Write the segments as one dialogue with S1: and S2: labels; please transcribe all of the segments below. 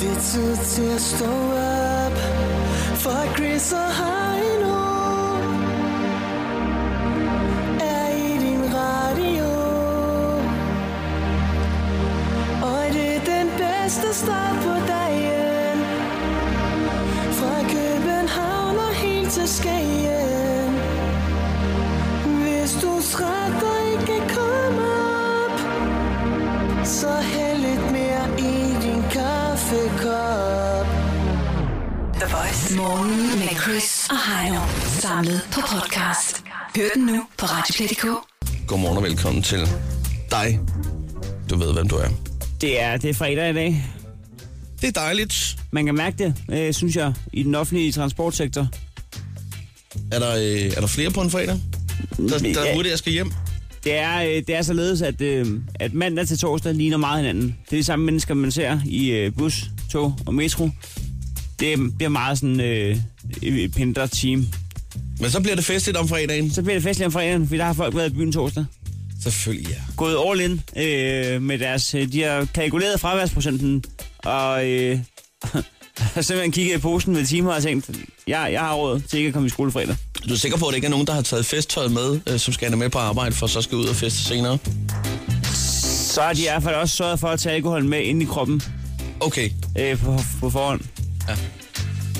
S1: altid til at stå op For Chris og Heino Er i din radio Og det er den bedste start på dagen Fra København og helt til Skagen Hvis du er træt og ikke kan komme op Så hæld lidt mere i din kaffekop
S2: The Voice. Morgen med Chris og Heino. Samlet på podcast. Hør den nu på Radioplay.dk.
S3: Godmorgen og velkommen til dig. Du ved, hvem du er.
S4: Det er, det er fredag i dag.
S3: Det er dejligt.
S4: Man kan mærke det, øh, synes jeg, i den offentlige transportsektor.
S3: Er der, øh, er der flere på en fredag? Der, der er
S4: Ja.
S3: hurtigt, jeg skal hjem.
S4: Det er, øh, det er således, at, øh, at mandag til torsdag ligner meget hinanden. Det er de samme mennesker, man ser i øh, bus, tog og metro. Det bliver meget sådan øh, et pendler-team.
S3: Men så bliver det festligt om fredagen.
S4: Så bliver det festligt om fredagen, fordi der har folk været i byen torsdag.
S3: Selvfølgelig, ja.
S4: Gået all in øh, med deres... Øh, de har kalkuleret fraværsprocenten, og øh, har simpelthen kigget i posen med timer og tænkt, jeg, jeg har råd til ikke at komme i skole fredag.
S3: Du er sikker på, at det ikke er nogen, der har taget festtøjet med, øh, som skal have det med på arbejde, for så skal ud og feste senere?
S4: Så har de i hvert fald også sørget for at tage alkoholen med ind i kroppen
S3: Okay.
S4: øh, på, på forhånd.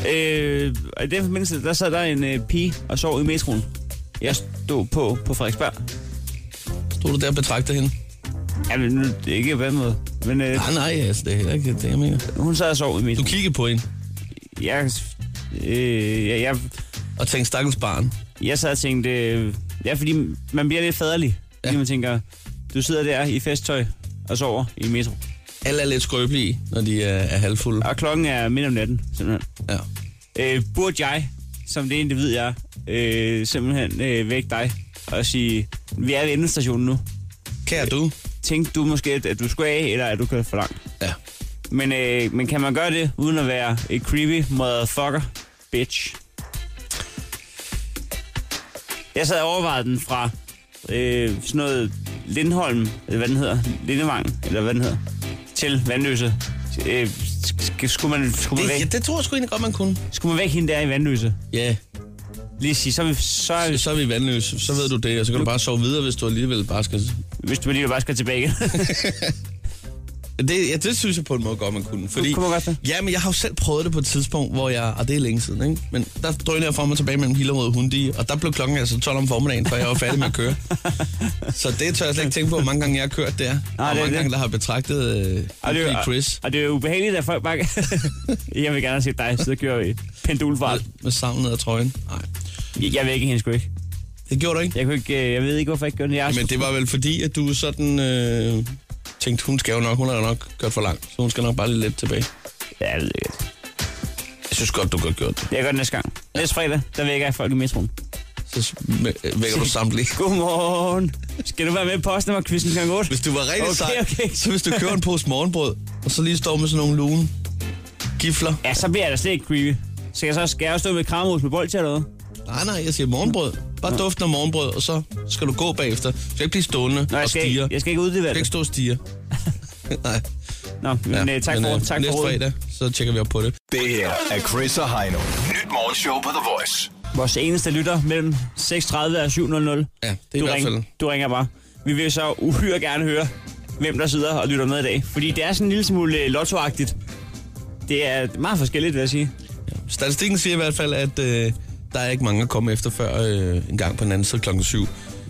S3: Ja.
S4: Øh, og i den forbindelse, der sad der en øh, pige og sov i metroen. Jeg stod på på Frederiksberg.
S3: Stod du der og betragtede hende?
S4: Jamen, nu, det er ikke på den måde. Men øh,
S3: Nej, nej, altså, det er heller ikke det, jeg mener.
S4: hun sad og sov i
S3: Du
S4: metroen.
S3: kiggede på hende
S4: Jeg, øh, jeg, jeg,
S3: og tænkte, stakkels barn.
S4: jeg sad og tænkte... Øh, ja, fordi man bliver lidt faderlig. Ja. Fordi
S3: Ja.
S4: man tænker, du sidder der i festtøj og sover i metro.
S3: Alle er lidt skrøbelige, når de er, er halvfulde.
S4: Og klokken er midt om natten, simpelthen.
S3: Ja.
S4: øh, burde jeg, som det individ jeg er, øh, simpelthen øh, vække dig og sige, vi er ved endestationen nu.
S3: Kære du?
S4: Tænkte du måske, at- at du skulle af, eller at du kørte for langt?
S3: Ja.
S4: Men, øh, men kan man gøre det, uden at være et creepy motherfucker bitch? Jeg sad og overvejede den fra øh, sådan noget Lindholm, eller hvad den hedder, Lindevang, eller hvad den hedder, til Vandløse. Øh, sk- sk- skulle, man, skulle, man
S3: Det, ja,
S4: væk,
S3: det tror jeg sgu egentlig godt, man kunne.
S4: skulle man væk hende der i Vandløse?
S3: Ja,
S4: Lige sige, så, er vi- så er vi
S3: så er vi vandløse. Så ved du det, og så kan du bare sove videre, hvis du alligevel bare skal
S4: hvis du alligevel bare skal tilbage igen.
S3: Det, ja, det synes jeg på en måde godt, man kunne. Fordi,
S4: Kunne man godt det?
S3: Ja, men jeg har jo selv prøvet det på et tidspunkt, hvor jeg... Og det er længe siden, ikke? Men der drønede jeg for mig tilbage mellem Hillerød og Hundi, og der blev klokken altså 12 om formiddagen, for jeg var færdig med at køre. Så det tør jeg slet ikke tænke på, hvor mange gange jeg har kørt der. og
S4: det er
S3: mange
S4: det.
S3: gange, der har betragtet øh,
S4: Og det, er, jo-
S3: Chris
S4: og det er jo ubehageligt, at folk bare... jeg vil gerne have set dig, så kører vi pendulfart.
S3: med, med savnet af trøjen. Nej,
S4: Jeg, jeg vil ikke hende sgu ikke.
S3: det gjorde du ikke.
S4: Jeg, kunne ikke, øh, jeg ved ikke, hvorfor jeg ikke gjorde det. Jeg er
S3: Men det var vel fordi, at du sådan... Øh, tænkte, hun skal jo nok, hun har jo nok kørt for langt, så hun skal nok bare lidt let tilbage.
S4: Ja, jeg ved ikke.
S3: Jeg synes godt, du godt gjort det.
S4: Jeg gør det næste gang. Næste fredag, der vækker jeg folk i metroen.
S3: Så øh, vækker du samtlige.
S4: Godmorgen. Skal du være med på postnummer quizzen kl. 8?
S3: Hvis du var rigtig
S4: Okay,
S3: sej,
S4: okay.
S3: så hvis du kører en pose morgenbrød, og så lige står med sådan nogle lune gifler.
S4: Ja, så bliver jeg da slet ikke creepy. Så kan jeg så, skal jeg også stå med kramhus med bold til eller hvad?
S3: Nej, nej, jeg siger morgenbrød. Bare duften af morgenbrød, og så skal du gå bagefter. Du skal ikke blive stående
S4: Nå,
S3: og
S4: jeg skal,
S3: stige.
S4: ikke,
S3: Du
S4: jeg skal ikke udlevere
S3: skal ikke
S4: det.
S3: stå og stige. nej.
S4: Nå, men øh, tak for,
S3: øh,
S4: tak
S3: Næste
S4: for rådet.
S3: fredag, så tjekker vi op på det.
S5: Det her er Chris og Heino. Nyt morgenshow på The Voice.
S4: Vores eneste lytter mellem 6.30 og 7.00.
S3: Ja, det er i
S4: du,
S3: hvert fald...
S4: ring, du ringer bare. Vi vil så uhyre gerne høre, hvem der sidder og lytter med i dag. Fordi det er sådan en lille smule øh, lottoagtigt. Det er meget forskelligt, vil jeg sige.
S3: Statistikken siger i hvert fald, at øh, der er ikke mange at komme efter før øh, en gang på den anden side klokken syv.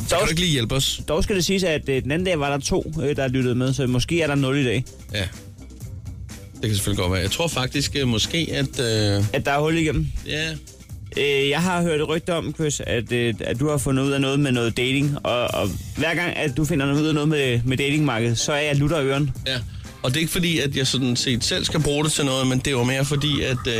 S3: Så kan du ikke lige hjælpe os?
S4: Dog skal det siges, at øh, den anden dag var der to, øh, der lyttede med, så måske er der nul i dag.
S3: Ja. Det kan selvfølgelig godt være. Jeg tror faktisk øh, måske, at... Øh,
S4: At der er hul igennem.
S3: ja,
S4: Øh, jeg har hørt et rygte om, Chris, at, øh, at du har fundet ud af noget med noget dating. Og, og hver gang, at du finder ud af noget med, med datingmarkedet, så er jeg lutter i øren.
S3: Ja, og det er ikke fordi, at jeg sådan set selv skal bruge det til noget, men det er jo mere fordi, at øh,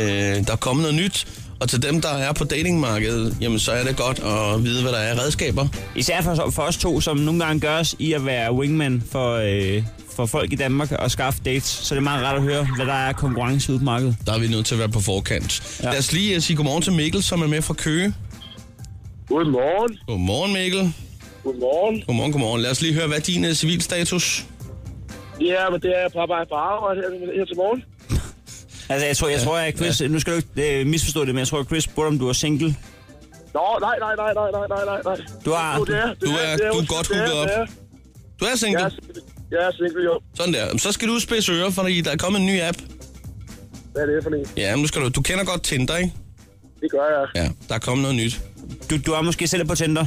S3: der er kommet noget nyt. Og til dem, der er på datingmarkedet, jamen så er det godt at vide, hvad der er af redskaber.
S4: Især for, for os to, som nogle gange gør os i at være wingman for, øh, for folk i Danmark og skaffe dates. Så det er meget rart at høre, hvad der er af konkurrence ude på markedet.
S3: Der er vi nødt til at være på forkant. Ja.
S4: Ja.
S3: Lad os lige øh, sige godmorgen til Mikkel, som er med fra Køge.
S6: Godmorgen.
S3: Godmorgen Mikkel.
S6: Godmorgen.
S3: Godmorgen, godmorgen. Lad os lige høre, hvad er din øh, civilstatus?
S6: Ja, men det er jeg på arbejde på arbejde her, her til morgen.
S4: Altså, jeg tror, jeg tror, at Chris... Nu skal du ikke øh, misforstå det, men jeg tror, at Chris spurgte, om du var single.
S6: Nå, nej, nej, nej, nej, nej, nej, nej, nej.
S4: Du har-
S6: Jo, det er, det
S3: du er-
S6: det
S3: du er
S6: undskyld,
S3: godt
S6: det
S3: hooket
S6: det
S3: op.
S6: er.
S3: Du er
S6: Jeg
S3: single.
S6: er single. Jeg er single, jo.
S3: Sådan der. Jamen, Så skal du spidse ører, fordi der er kommet en ny app.
S6: Hvad er det for en?
S3: Ja, men nu skal du... Du kender godt Tinder, ikke?
S6: Det gør jeg.
S3: Ja, der er kommet noget nyt.
S4: Du, du er måske selv på Tinder.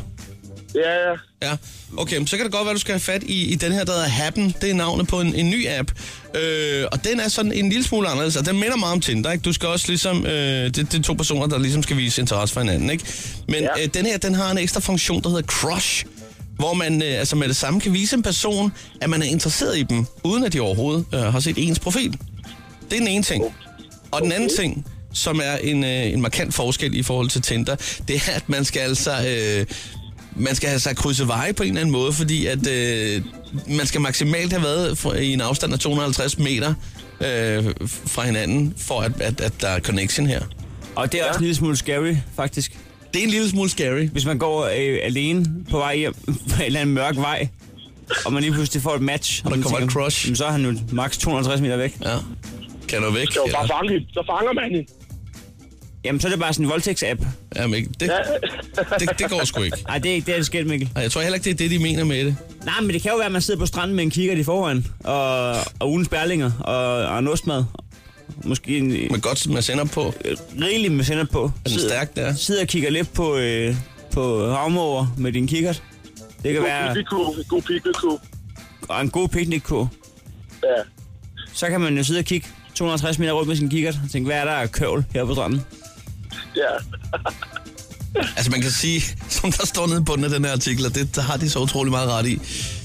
S6: Ja, ja.
S3: Ja, okay, men så kan det godt være, at du skal have fat i, i den her, der hedder Happen. Det er navnet på en, en ny app. Øh, og den er sådan en lille smule anderledes, og den minder meget om Tinder, ikke? Du skal også ligesom... Øh, det, det er to personer, der ligesom skal vise interesse for hinanden, ikke? Men ja.
S6: Ja.
S3: øh, den her, den har en ekstra funktion, der hedder Crush. Hvor man øh, altså med det samme kan vise en person, at man er interesseret i dem, uden at de overhovedet øh, har set ens profil. Det er den ene ting. Og den anden ting, som er en, øh, en markant forskel i forhold til Tinder, det er, at man skal altså... Øh, man skal have sig krydse veje på en eller anden måde, fordi at øh, man skal maksimalt have været fra- i en afstand af 250 meter øh, fra hinanden, for at, at, at der er connection her.
S4: Og det er ja. også en lille smule scary, faktisk.
S3: Det er en lille smule scary.
S4: Hvis man går øh, alene på vej hjem på en eller anden mørk vej, og man lige pludselig får et match. Og,
S3: der
S4: man
S3: kommer et crush.
S4: "Jamen, Så er han jo maks 250 meter væk.
S3: Ja. Kan du væk?
S6: Det var bare
S3: Eller?
S6: fange hende. Så fanger man hende.
S4: Jamen, så er det bare sådan en voldtægts-app.
S3: Jamen, ikke- det,
S6: Ja.
S3: det, det går sgu ikke.
S4: Ej, det er ikke det, der sker, Mikkel.
S3: Og jeg tror heller ikke, det er det, de mener med det.
S4: Nej, men det kan jo være, at man sidder på stranden med en kikkert i forhånd, og, og ugens bærlinger, og, og en ostmad. Måske en
S3: Men godt, man sender på.
S4: øh, rigelig med sender på.
S3: Er den stærk, der?
S4: sidder og kigger lidt på, øh, på havmåger med din kikkert. Det kan
S6: God
S4: være
S6: pikku. God pikku.
S4: og en god piknikko.
S6: Ja.
S4: Så kan man jo sidde og kigge 250 meter rundt med sin kikkert og tænke, hvad er der af køvl her på stranden?
S6: Ja.
S3: Altså man kan sige, som der står nede i bunden af den her artikel, og det der har de så utrolig meget ret i.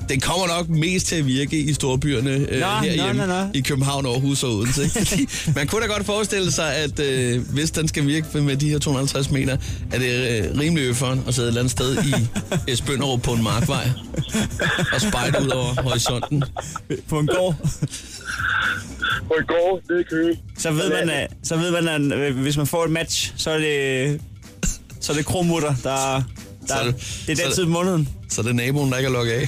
S3: Det kommer nok mest til at virke i storbyerne øh,
S4: Nå,
S3: herhjemme,
S4: nå, nå, nå.
S3: i København, Aarhus og Odense. ikke? Fordi man kunne da godt forestille sig, at øh, hvis den skal virke med de her 250 meter, er det øh, rimelig øfferen at sidde et eller andet sted i Esbønderup på en markvej og spejde ud over horisonten.
S4: På en gård.
S6: På i går, det er kø.
S4: Så ved man, at, så ved man at, øh, hvis man får et match, så er det, så er det kromutter, der,
S3: Så er
S4: der
S3: det-
S4: det
S3: så
S4: er
S3: er
S4: den
S3: det-
S4: tid på måneden.
S3: Så det er naboen, der ikke er lukket af.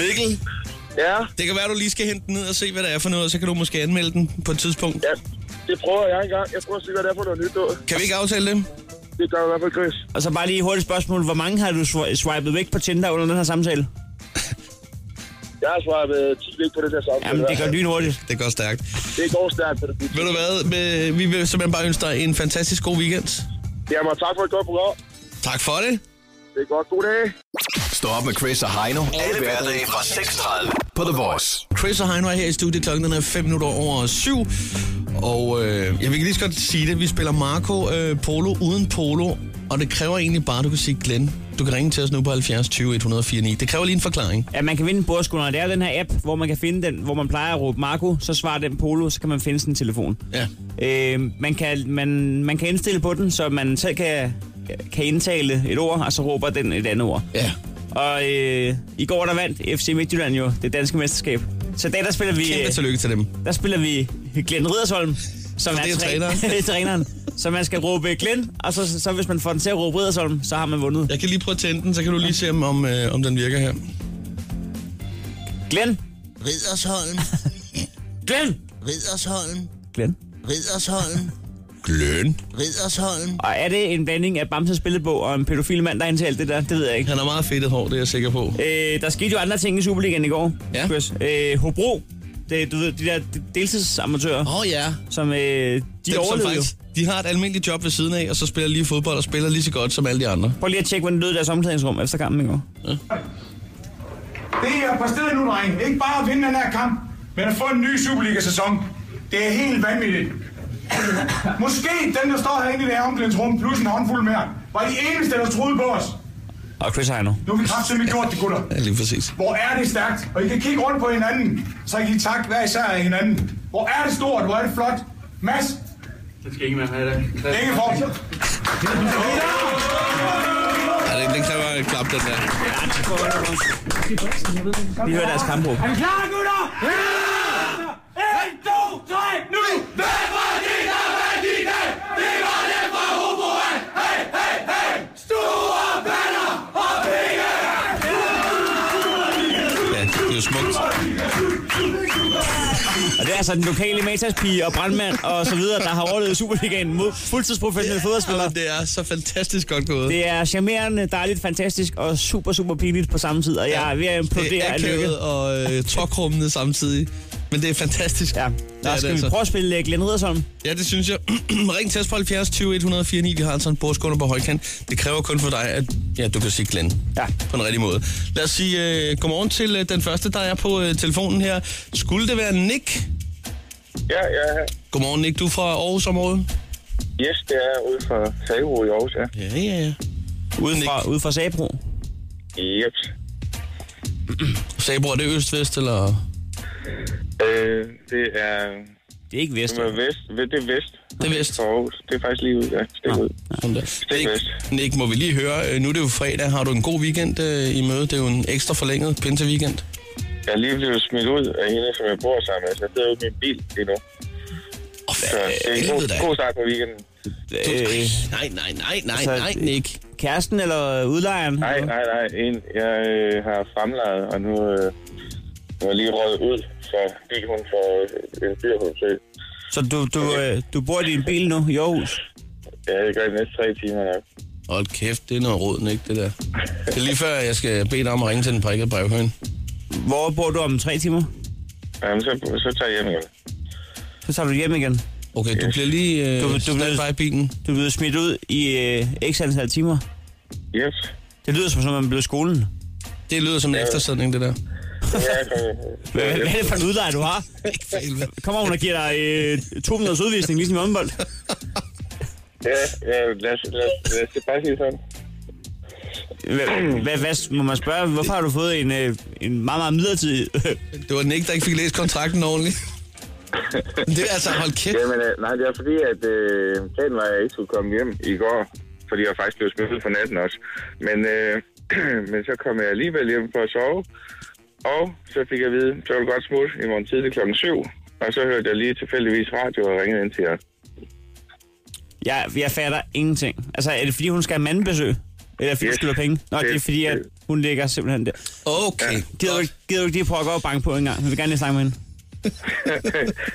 S3: Mikkel,
S6: Ja.
S3: det kan være, du lige skal hente den ned og se, hvad det er for noget, og så kan du måske anmelde den på et tidspunkt.
S6: Ja. Det prøver jeg engang. Jeg prøver at se, hvad det er for noget nyt. noget.
S3: Kan vi ikke aftale det?
S6: Det gør jeg i hvert fald, Chris.
S4: Og så bare lige et hurtigt spørgsmål. Hvor mange har du swi- swipet væk på Tinder under den her samtale?
S6: Jeg har svaret med 10 væk på det der samtale.
S4: Jamen, det går lynhurtigt.
S3: Det går stærkt.
S6: Det går stærkt på det.
S3: Ved du hvad, øh, vi vil simpelthen bare ønske dig en fantastisk god weekend.
S6: Jamen, tak for et godt program.
S3: Tak for det.
S6: Det er godt. God dag.
S5: Stå op med Chris og Heino. Alle hverdage fra 6.30 på The Voice.
S3: Chris og Heino er her i studiet. Klokken den er 5 minutter over 7. Og øh, jeg vil lige så godt sige det. Vi spiller Marco øh, Polo uden Polo. Og det kræver egentlig bare, at du kan sige Glenn. Du kan ringe til os nu på 70 20 104 9. Det kræver lige en forklaring.
S4: Ja, man kan vinde en bordskunder. Det er jo den her app, hvor man kan finde den, hvor man plejer at råbe Marco, så svarer den Polo, så kan man finde sin telefon.
S3: Ja.
S4: Øh, man, kan, man, man kan indstille på den, så man selv kan, kan indtale et ord, og så råber den et andet ord.
S3: Ja.
S4: Og øh, i går der vandt FC Midtjylland jo det danske mesterskab. Så i dag der spiller vi, øh,
S3: Kæmpe tillykke til dem.
S4: der spiller vi Glenn Riddersholm, som
S3: For det er
S4: træ-
S3: træneren.
S4: det er træneren. Så man skal råbe Glenn, og så, så, så hvis man får den til at råbe Riddersholm, så har man vundet.
S3: Jeg kan lige prøve at tænde den, så kan du lige se, om, om, øh, om den virker her.
S4: Glenn!
S3: Ridersholm.
S4: Glenn!
S3: Ridersholm.
S4: Glenn.
S3: Ridersholm. Glenn. Ridersholm.
S4: Og er det en blanding af Bamses spillebog og en pædofil mand, der har indtalt det der? Det ved jeg ikke.
S3: Han har meget fedtet hår, det er jeg sikker på.
S4: Øh, der skete jo andre ting i Superligaen i går,
S3: Ja.
S4: Chris. Øh, Hobro, det, du ved, de der deltidsamatører,
S3: Åh oh, ja.
S4: som øh, de
S3: Dem, som
S4: overlevede
S3: faktisk,
S4: jo.
S3: de har et almindeligt job ved siden af, og så spiller lige fodbold og spiller lige så godt som alle de andre.
S4: Prøv lige at tjekke, hvordan det lød i deres omklædningsrum efter kampen i går.
S7: Det er på stedet nu, dreng. Ikke bare at vinde den her kamp, men at få en ny Superliga-sæson. Det er helt vanvittigt. Måske den, der står herinde i det her omklædningsrum, plus en håndfuld mere, var de eneste, der troede på os.
S4: Og Chris Heino.
S7: Nu har vi kraftigt gjort det, gutter.
S3: Ja, lige præcis.
S7: Hvor er det stærkt, og I kan kigge rundt på hinanden, så I kan takke hver især af hinanden. Hvor er det stort, hvor er det flot. Mads,
S8: Det skal ingen have i dag.
S7: længe for.
S3: Ja, den, den kræver et klap, den der.
S4: Vi hører deres kampråb.
S7: Er vi klar, gutter? Ja! En, to, tre, nu! Hvad var det, der var din dag? Det var det fra Hoboen! Hey, hey, hey! Store banner og penge!
S3: Ja, det er jo smukt.
S4: Og det er altså den lokale matas-pige og brandmand og så videre, der har overlevet Superligaen mod fuldtidsprofessionelle fodboldspillere.
S3: Og det er så fantastisk godt gået.
S4: Det er charmerende, dejligt, fantastisk og super, super pinligt på samme tid, og jeg er ved at
S3: det
S4: implodere
S3: er
S4: af lykke.
S3: akavet og øh, tokrummende samtidig. Men det er fantastisk.
S4: Ja,
S3: er
S4: Nå,
S3: det
S4: skal vi
S3: altså.
S4: prøve at spille øh, Glenn Riddersholm?
S3: Ja, det synes jeg. Ring til os på 70 20 104 9. Vi har altså en bordskunder på højkant. Det kræver kun for dig, at ja, du kan sige Glenn.
S4: Ja.
S3: På en rigtig måde. Lad os sige øh, godmorgen til øh, den første, der er på øh, telefonen her. Skulle det være Nick?
S6: Ja, ja.
S3: Godmorgen, Nick. Du er fra Aarhus område.
S6: Yes, det er ude fra Sagro i Aarhus, ja.
S3: Ja, ja, ja. Uden Nick.
S4: Fra, ude fra Sabro.
S6: Yep.
S3: Sabro, er det øst-vest, eller?
S6: Øh, det er...
S4: Det er ikke vest.
S6: Det er vest. Det er vest.
S3: Det er vest.
S6: Fra Aarhus. Det er faktisk lige ud, ja. Stik
S3: Ah.
S6: ud.
S3: Sådan der. Nick,
S6: vest.
S3: Nick, må vi lige høre. øh, Nu er det jo fredag. Har du en god weekend øh, i møde? Det er jo en ekstra forlænget pinseweekend.
S6: Jeg er lige blevet smidt ud af hende, som jeg bor sammen med. Så jeg sidder ude i min bil lige nu.
S3: Åh,
S6: Så det er en god,
S3: Øh, helvede da.
S6: god start på weekenden.
S3: Du-
S4: Øh,
S3: Nej, nej, nej, nej,
S4: altså,
S3: nej, Nick.
S4: kæresten eller øh, udlejeren?
S6: Nej, nej, nej. En, jeg øh, har fremlejet, og nu øh, nu er jeg lige røget ud, så gik hun for øh, en dyrhundsøg.
S4: Så du, du, øh, du bor i din bil nu i Aarhus?
S6: Ja, det gør jeg de næste tre timer nok.
S3: Hold kæft, det er noget råd, ikke det der. Det er lige før, jeg skal bede dig om at ringe til den prikkede brevhøn.
S4: Hvor bor du om tre timer?
S6: Jamen, så, så tager jeg hjem igen.
S4: Så tager du hjem igen.
S3: Okay, du bliver lige øh, du,
S4: Du- du
S3: du
S4: bliver-
S3: standby i bilen.
S4: Du bliver smidt ud i øh, x antal timer.
S6: Yes.
S4: Det lyder som, som man blev i skolen.
S3: Det lyder som en eftersætning, det der.
S6: Ja, jeg kommer.
S4: Hvad, hvad er det for en udlejer, du har? Kommer hun og giver dig øh, to minutters udvisning, ligesom i håndbold?
S6: Ja, ja lad, os, lad, os, lad os det bare sige sådan.
S4: Hvad, hvad, hvad, må man spørge, hvorfor har du fået en, øh, en meget, meget midlertidig...
S3: Det var Nick, der ikke fik læst kontrakten ordentligt. Men det er altså, hold kæft.
S6: Jamen, øh, nej, det er fordi, at øh, planen var, at jeg ikke skulle komme hjem i går, fordi jeg faktisk blev smidt ud for natten også. Men, øh, men så kom jeg alligevel hjem for at sove, og så fik jeg at vide, så var det godt smut i morgen tidlig klokken 7. Og så hørte jeg lige tilfældigvis radio og ringede ind til jer.
S4: Jeg, jeg fatter ingenting. Altså, er det fordi, hun skal have mandbesøg? Eller fordi, hun
S6: Yes.
S4: skylder penge? Nå, det er
S6: Det-
S4: fordi, at hun ligger simpelthen der.
S3: Okay.
S4: Gider du, ikke- gider du ikke lige prøve at gå og banke på en gang? Vi vil gerne lige snakke med hende.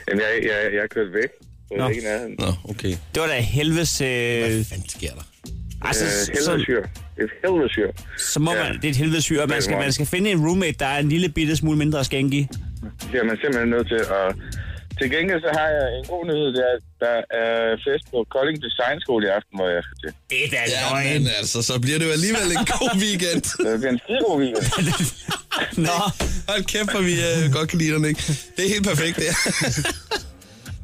S6: Jamen, jeg, jeg, jeg kørte væk. Jeg
S4: Nå.
S6: er ikke i nærheden.
S3: Nå, okay.
S4: Det var da helvedes... Øh,
S3: Hvad fanden sker der?
S4: altså,
S6: Øh,
S4: så,
S6: helvedesyr. Et helvedesyr.
S4: så må man,
S6: Ja.
S4: det er et helvedes syg, og man skal, man skal finde en roommate, der er en lille bitte smule mindre skænkig.
S6: Det er man simpelthen nødt til. Og til gengæld så har jeg en god nyhed, det er, at der er fest på Kolding Design Skole i aften, hvor jeg skal til.
S4: Det er da
S3: Ja,
S4: løgn.
S3: men altså, så bliver det jo alligevel en god weekend.
S6: Så det bliver en skide god weekend.
S4: Nå,
S3: Hold kæft, hvor vi øh, godt kan lide dig, Nick. Det er helt perfekt, det her.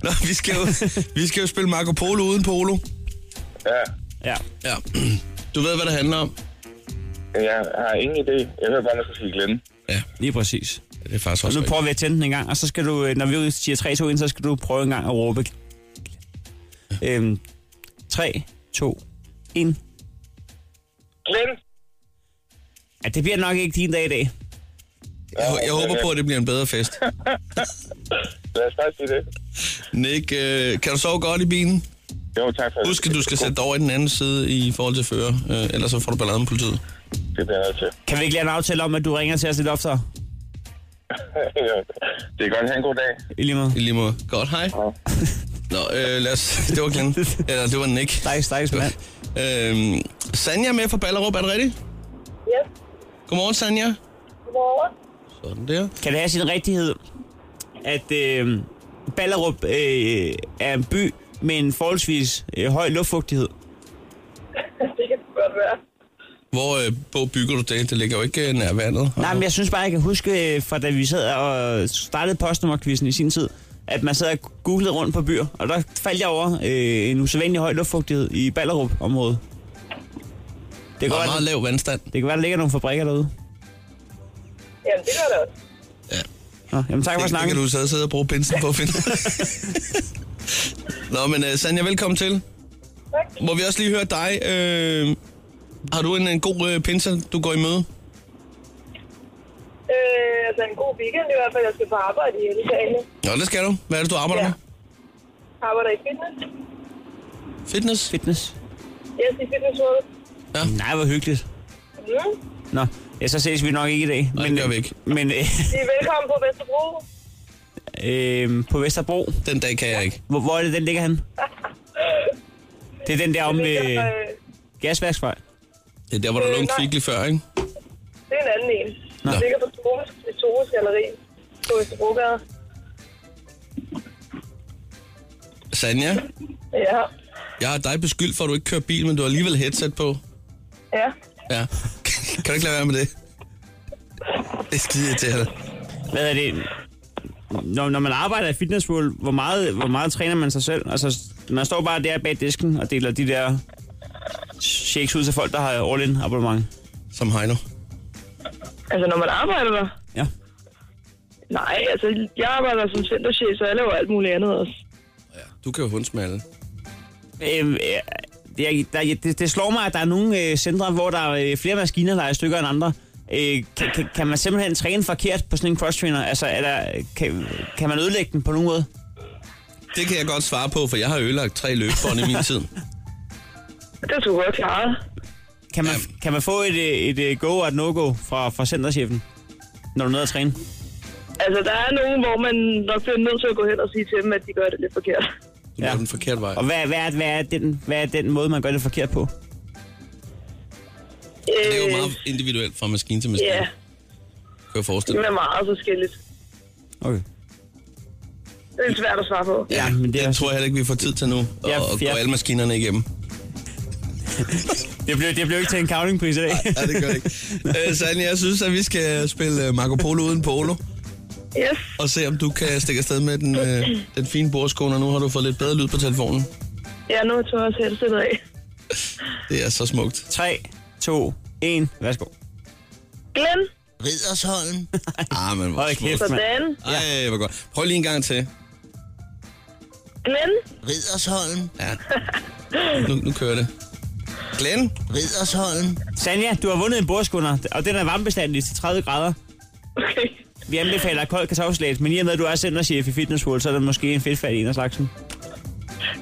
S3: Nå, vi skal, jo, vi skal jo spille Marco Polo uden polo.
S6: Ja.
S4: ja.
S3: Ja. Du ved, hvad det handler om.
S6: Jeg har ingen idé. Jeg hører bare, at man skal sige Glenn.
S3: Ja,
S4: Lige præcis.
S3: det er faktisk også
S4: Nu
S3: rigtigt.
S4: prøver vi at tænde den en gang, og så skal du, øh, når vi siger 3, 2, 1, så skal du prøve en gang at råbe. Øhm, 3, 2, 1.
S6: Glenn!
S4: Ja, det bliver nok ikke din dag i dag.
S3: Jeg, jeg håber på, at det bliver en bedre fest.
S6: Lad os bare sige det.
S3: Nick, øh, kan du sove godt i bilen?
S6: Jo, tak for det.
S3: Husk, at du skal sætte dig over i den anden side i forhold til fører, øh, ellers så får du ballade med politiet.
S6: Det bliver jeg nødt til.
S4: Kan vi ikke lave en aftale om, at du ringer til os lidt oftere?
S6: det er godt. Ha' en god dag.
S4: I lige måde.
S3: I lige måde. Godt, hej. Nå, øh, lad os... Det var Glenn. Eller det var Nick.
S4: Stakkes, stakkes mand.
S3: Øhm, Sanja er med fra Ballerup, er det rigtigt?
S9: Yes.
S3: Godmorgen, Sanja.
S9: Godmorgen.
S3: Sådan der.
S4: Kan det have sin rigtighed, at øh, Ballerup øh, er en by med en forholdsvis øh, høj luftfugtighed?
S9: det kan sgu godt være.
S3: Hvor øh, på bygger du det? Det ligger jo ikke øh, nær vandet.
S4: Nej, men jeg synes bare, jeg kan huske øh, fra da vi sad og startede postnummerquizzen i sin tid, at man sad og googlede rundt på byer, og der faldt jeg over øh, en usædvanlig høj luftfugtighed i Ballerup-området. Det kan,
S3: Og meget
S4: godt, være,
S3: lav vandstand.
S4: det kan være, der ligger nogle fabrikker derude.
S9: Jamen, det gør det også.
S4: Nå, jamen tak for
S3: Det, det
S4: snakken.
S3: kan du så sidde og bruge pinsen på at finde. Nå, men uh, Sanja, velkommen til.
S9: Tak.
S3: Må vi også lige høre dig. Øh, har du en, en god øh, pinse, du går i møde?
S9: Øh, altså en god weekend i hvert fald. Jeg skal på arbejde i hele dagen.
S3: Nå, det skal du. Hvad er det, du arbejder ja.
S9: Ja.
S3: med?
S9: Arbejder i fitness.
S3: Fitness?
S4: Fitness.
S9: Yes, i Fitness World.
S4: Nej, hvor hyggeligt.
S9: Mm.
S4: Nå, ja, så ses vi nok ikke i dag. øh,
S3: Nej, det gør vi ikke.
S4: Men øh,
S9: I er velkommen på Vesterbro.
S4: øh, på Vesterbro.
S3: Den dag kan jeg ikke.
S4: Hvor, hvor er det, den ligger han? Det er den der om ved
S9: Øh,
S4: gasværksvej.
S3: Det er der, hvor der
S9: Øh,
S3: lå en
S9: nej.
S3: kvickly før, ikke?
S9: det er en anden en. Den ligger på Tores, ved Tores Galeri på Østerbrogade.
S3: Sanja,
S9: Ja,
S3: jeg har dig beskyldt for, at du ikke kører bil, men du har alligevel headset på.
S9: ja.
S3: Ja. kan du ikke lade være med det? Det er skide irriterende.
S4: Hvad er det? Når, når man arbejder i Fitness World, hvor meget, hvor meget træner man sig selv? Altså, man står bare der bag disken og deler de der shakes ud til folk, der har all-in abonnement.
S3: Som Heino.
S9: Altså, når man arbejder der?
S4: Ja.
S9: Nej, altså, jeg arbejder som centerchef, så jeg laver alt muligt andet også.
S3: Du kan jo hundsmalle.
S4: Øh, det, der, det, det slår mig, at der er nogle øh, centre, hvor der er øh, flere maskiner, der er i stykker end andre. Øh, kan, kan, kan man simpelthen træne forkert på sådan en cross-trainer? Altså, er der, kan, kan man ødelægge den på nogen måde?
S3: Det kan jeg godt svare på, for jeg har ødelagt tre løbebånd i min tid.
S9: Det skulle jeg godt klare.
S4: Kan man,
S3: Jamen.
S4: kan man få et, øh, et, et go og et no-go fra, fra centerchefen, når du er nede at træne?
S9: Altså, der er nogen, hvor man nok bliver nødt til at gå hen og sige til dem, at de gør det lidt forkert.
S3: Du ja.
S4: Ja.
S3: den forkerte vej.
S4: Og hvad, hvad, er, hvad, er den, hvad er den måde, man gør det forkert på?
S3: Det er jo meget individuelt fra maskine til maskine.
S9: Øh, Ja,
S3: Yeah. Kan jeg forestille
S9: det
S3: mig.
S9: er meget forskelligt.
S4: Okay.
S9: Det er svært at svare på.
S4: Ja, men det, er,
S3: Det tror jeg heller ikke, vi får tid til nu. Og,
S4: Ja,
S3: og gå
S4: ja.
S3: alle maskinerne igennem.
S4: det, blev, det blev ikke til en cavlingpris i dag.
S3: Nej, det gør det ikke. Øh, Sanja, jeg synes, at vi skal spille øh, Marco Polo uden polo.
S9: Yes,
S3: Og se, om du kan stikke afsted med den, øh, den fine bordskåne. og Nu har du fået lidt bedre lyd på telefonen.
S9: ja, nu tog jeg også headsetet af.
S3: Det er så smukt.
S4: 3, 2, 1, værsgo.
S9: Glenn,
S3: Riddersholm. ah, men hvor
S4: Hold
S3: smukt.
S4: kæft, mand.
S9: sådan.
S3: Ej, hvor godt. Prøv lige en gang til.
S9: Glenn,
S3: Riddersholm. Ja. Nu, nu kører det. Glenn. Riddersholm.
S4: Sanja, du har vundet en bordskunder, og den er varmebestandig til 30 grader.
S9: okay.
S4: Vi anbefaler kold kartoffelsalat, men i og med, at du er centerchef i Fitness World, så er der måske en fedtfald i en af slagsen.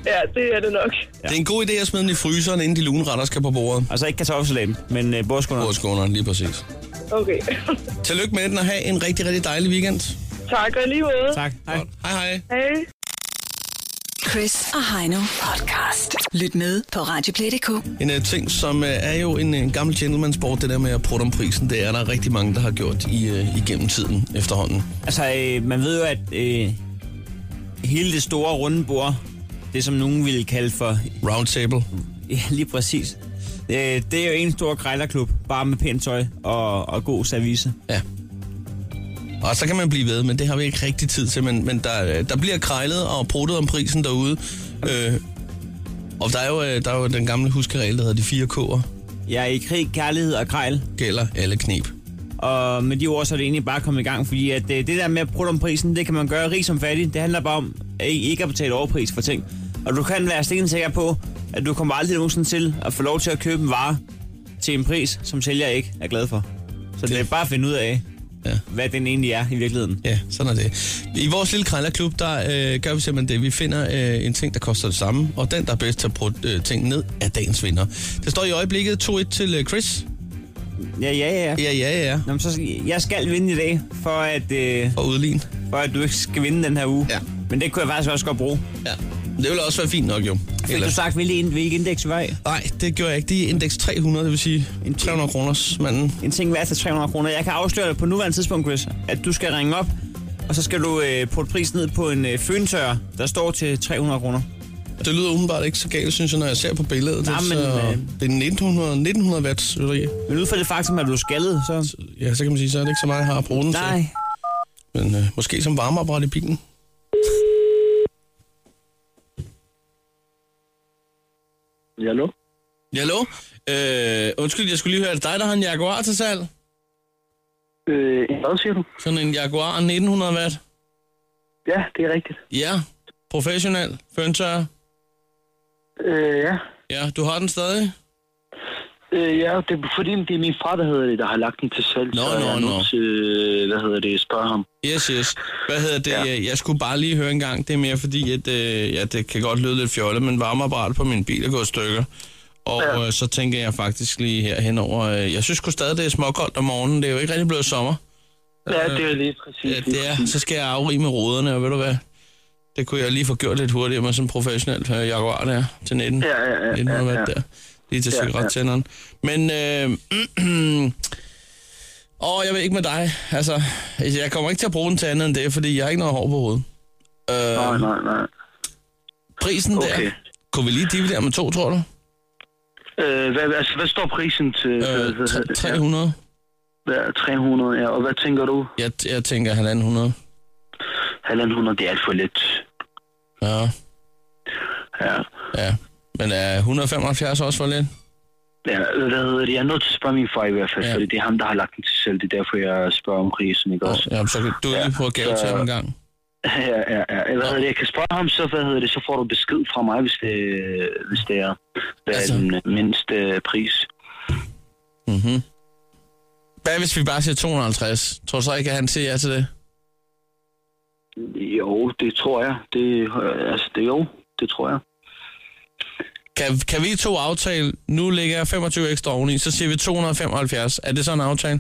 S9: Ja, det er det nok.
S3: Det er en god idé at smide den i fryseren, inden de luneretter skal på bordet.
S4: Altså ikke kartoffelsalaten, men øh, bordskunder.
S3: Bordskåneren, lige præcis.
S9: Okay.
S3: Tillykke med den, og have en rigtig, rigtig dejlig weekend.
S9: tak og i lige måde.
S4: Tak. Hej.
S3: Godt. Hej, hej.
S9: Hej.
S2: Chris og Heino podcast. Lyt med på Radioplay.dk.
S3: En uh, ting, som uh, er jo en uh, gammel gentleman-sport, det der med at prutte om prisen, det er der rigtig mange, der har gjort i, uh, igennem tiden efterhånden.
S4: Altså, øh, man ved jo, at øh, hele det store runde bord, det som nogen ville kalde for...
S3: Roundtable.
S4: Ja, lige præcis. Øh, det er jo en stor krejlerklub, bare med pænt tøj og, og god service.
S3: Ja. Og så kan man blive ved, men det har vi ikke rigtig tid til. Men, men der, øh, der bliver krejlet og pruttet om prisen derude. Øh, og der er, jo, øh, der er jo den gamle huskeregel, der hedder de fire K'er.
S4: Jeg er i krig, kærlighed og krejl.
S3: Gælder alle knep.
S4: Og med de ord, så er det egentlig bare kommet i gang, fordi at øh, det der med at bruge om prisen, det kan man gøre rig som fattig. Det handler bare om at I ikke at betale overpris for ting. Og du kan være stikken sikker på, at du kommer aldrig nogensinde til at få lov til at købe en vare til en pris, som sælger ikke er glad for. Så det, det er bare at finde ud af,
S3: Ja.
S4: ja. hvad den egentlig er i virkeligheden.
S3: Ja, sådan er det. I vores lille krejlerklub, der øh, gør vi simpelthen det. Vi finder øh, en ting, der koster det samme, og den, der er bedst til at bruge øh, ting ned, er dagens vinder. Det står i øjeblikket 2-1 til øh, Chris.
S4: Ja, ja, ja.
S3: Ja, ja, ja.
S4: Nå, men så, jeg skal vinde i dag, for at, øh,
S3: Og udlign.
S4: for at du ikke skal vinde den her uge.
S3: Ja.
S4: Men det kunne jeg faktisk også godt bruge.
S3: Ja. Det ville også være fint nok, jo.
S4: Fik du sagt, hvilket ind- hvilket indeks vi var i?
S3: Nej, det gjorde jeg ikke. Det er indeks 300, det vil sige
S4: En
S3: 300 kroners manden.
S4: en ting værd til 300 kroner. Jeg kan afsløre dig på nuværende tidspunkt, Chris, at du skal ringe op, og så skal du øh, putte prisen ned på en øh, føntørrer, der står til 300 kroner.
S3: Det lyder udenbart ikke så galt, synes jeg, når jeg ser på billedet.
S4: Nej,
S3: det,
S4: men,
S3: så,
S4: øh,
S3: det er 1900, 1900 watts, ved du ikke?
S4: Men ud fra det faktum, at du er skaldet, så...
S3: Ja, så kan man sige, så er det ikke så meget, jeg har at bruge den
S4: Nej.
S3: til. Men øh, måske som varmeapparat i bilen.
S6: Ja, hallo?
S3: Ja, hallo? Øh, undskyld, jeg skulle lige høre, er det dig, der har en Jaguar til salg?
S6: Øh, hvad siger du?
S3: Sådan en Jaguar 1900 watt?
S6: Ja, det er rigtigt.
S3: Ja, professionel, føntørrer.
S6: Øh, ja.
S3: Ja, du har den stadig?
S6: Øh, ja, det er fordi, det er min far, der hedder det, der har lagt den til salg.
S3: Nå,
S6: så
S3: nå,
S6: jeg er nødt
S3: nå.
S6: til,
S10: øh,
S6: hvad hedder det, spørge ham.
S3: Yes, yes. Hvad hedder det? Ja. Jeg skulle bare lige høre en gang. Det er mere fordi, at øh, ja, det kan godt lyde lidt fjollet, men varmeapparat på min bil er gået i stykker. Og ja.
S6: Ja.
S3: øh, så tænker jeg faktisk lige her henover. Øh, jeg synes sgu stadig, det er småkoldt om morgenen. Det er jo ikke rigtig blevet sommer. Ja, det er lige præcis. Ja, det er. Så skal jeg afrige med ruderne, og ved du hvad? Det kunne jeg lige få gjort lidt hurtigere med sådan en professionel øh, jaguar der til 19.
S6: Ja, ja, ja,
S3: 19
S6: ja,
S3: ja,
S6: ja.
S3: Der. Lige til
S6: Ja, ja.
S3: cigarettænderen. Men, øh, åh, jeg ved ikke med dig. Altså, jeg kommer ikke til at bruge den til andet end det, fordi jeg har ikke noget hår på hovedet. Øh, nej,
S6: nej, nej.
S3: Prisen okay. der,
S10: Okay.
S3: kunne vi lige dividere med to, tror du?
S10: Øh, hvad, altså, hvad står prisen til?
S3: Øh, tre- 300.
S10: Ja, 300, ja. Og hvad tænker du?
S3: Jeg, jeg tænker 1.500.
S10: 1.500, det er alt for lidt.
S3: Ja.
S10: Ja.
S3: Ja. Men er 175 også for lidt?
S10: Ja, hvad hedder det? Jeg er nødt til at spørge min far i hvert fald, ja. fordi det er ham, der har lagt den til selv. Det er derfor, jeg spørger om prisen, ikke også?
S3: Ja, så kan du lige prøve at gave til ham en gang.
S10: Ja, ja, ja. Hvad hedder det? Jeg kan spørge ham, så, hvad hedder det, så får du besked fra mig, hvis det, hvis det er, hvad altså. er den mindste øh, pris.
S3: Mhm. Hvad hvis vi bare siger 250? Tror du så ikke, at han siger ja til det?
S10: Jo, det tror jeg. Det, øh, altså, det jo, det tror jeg.
S3: Kan, kan vi to aftale, nu ligger jeg 25 ekstra oveni, så siger vi 275. Er det så en aftale?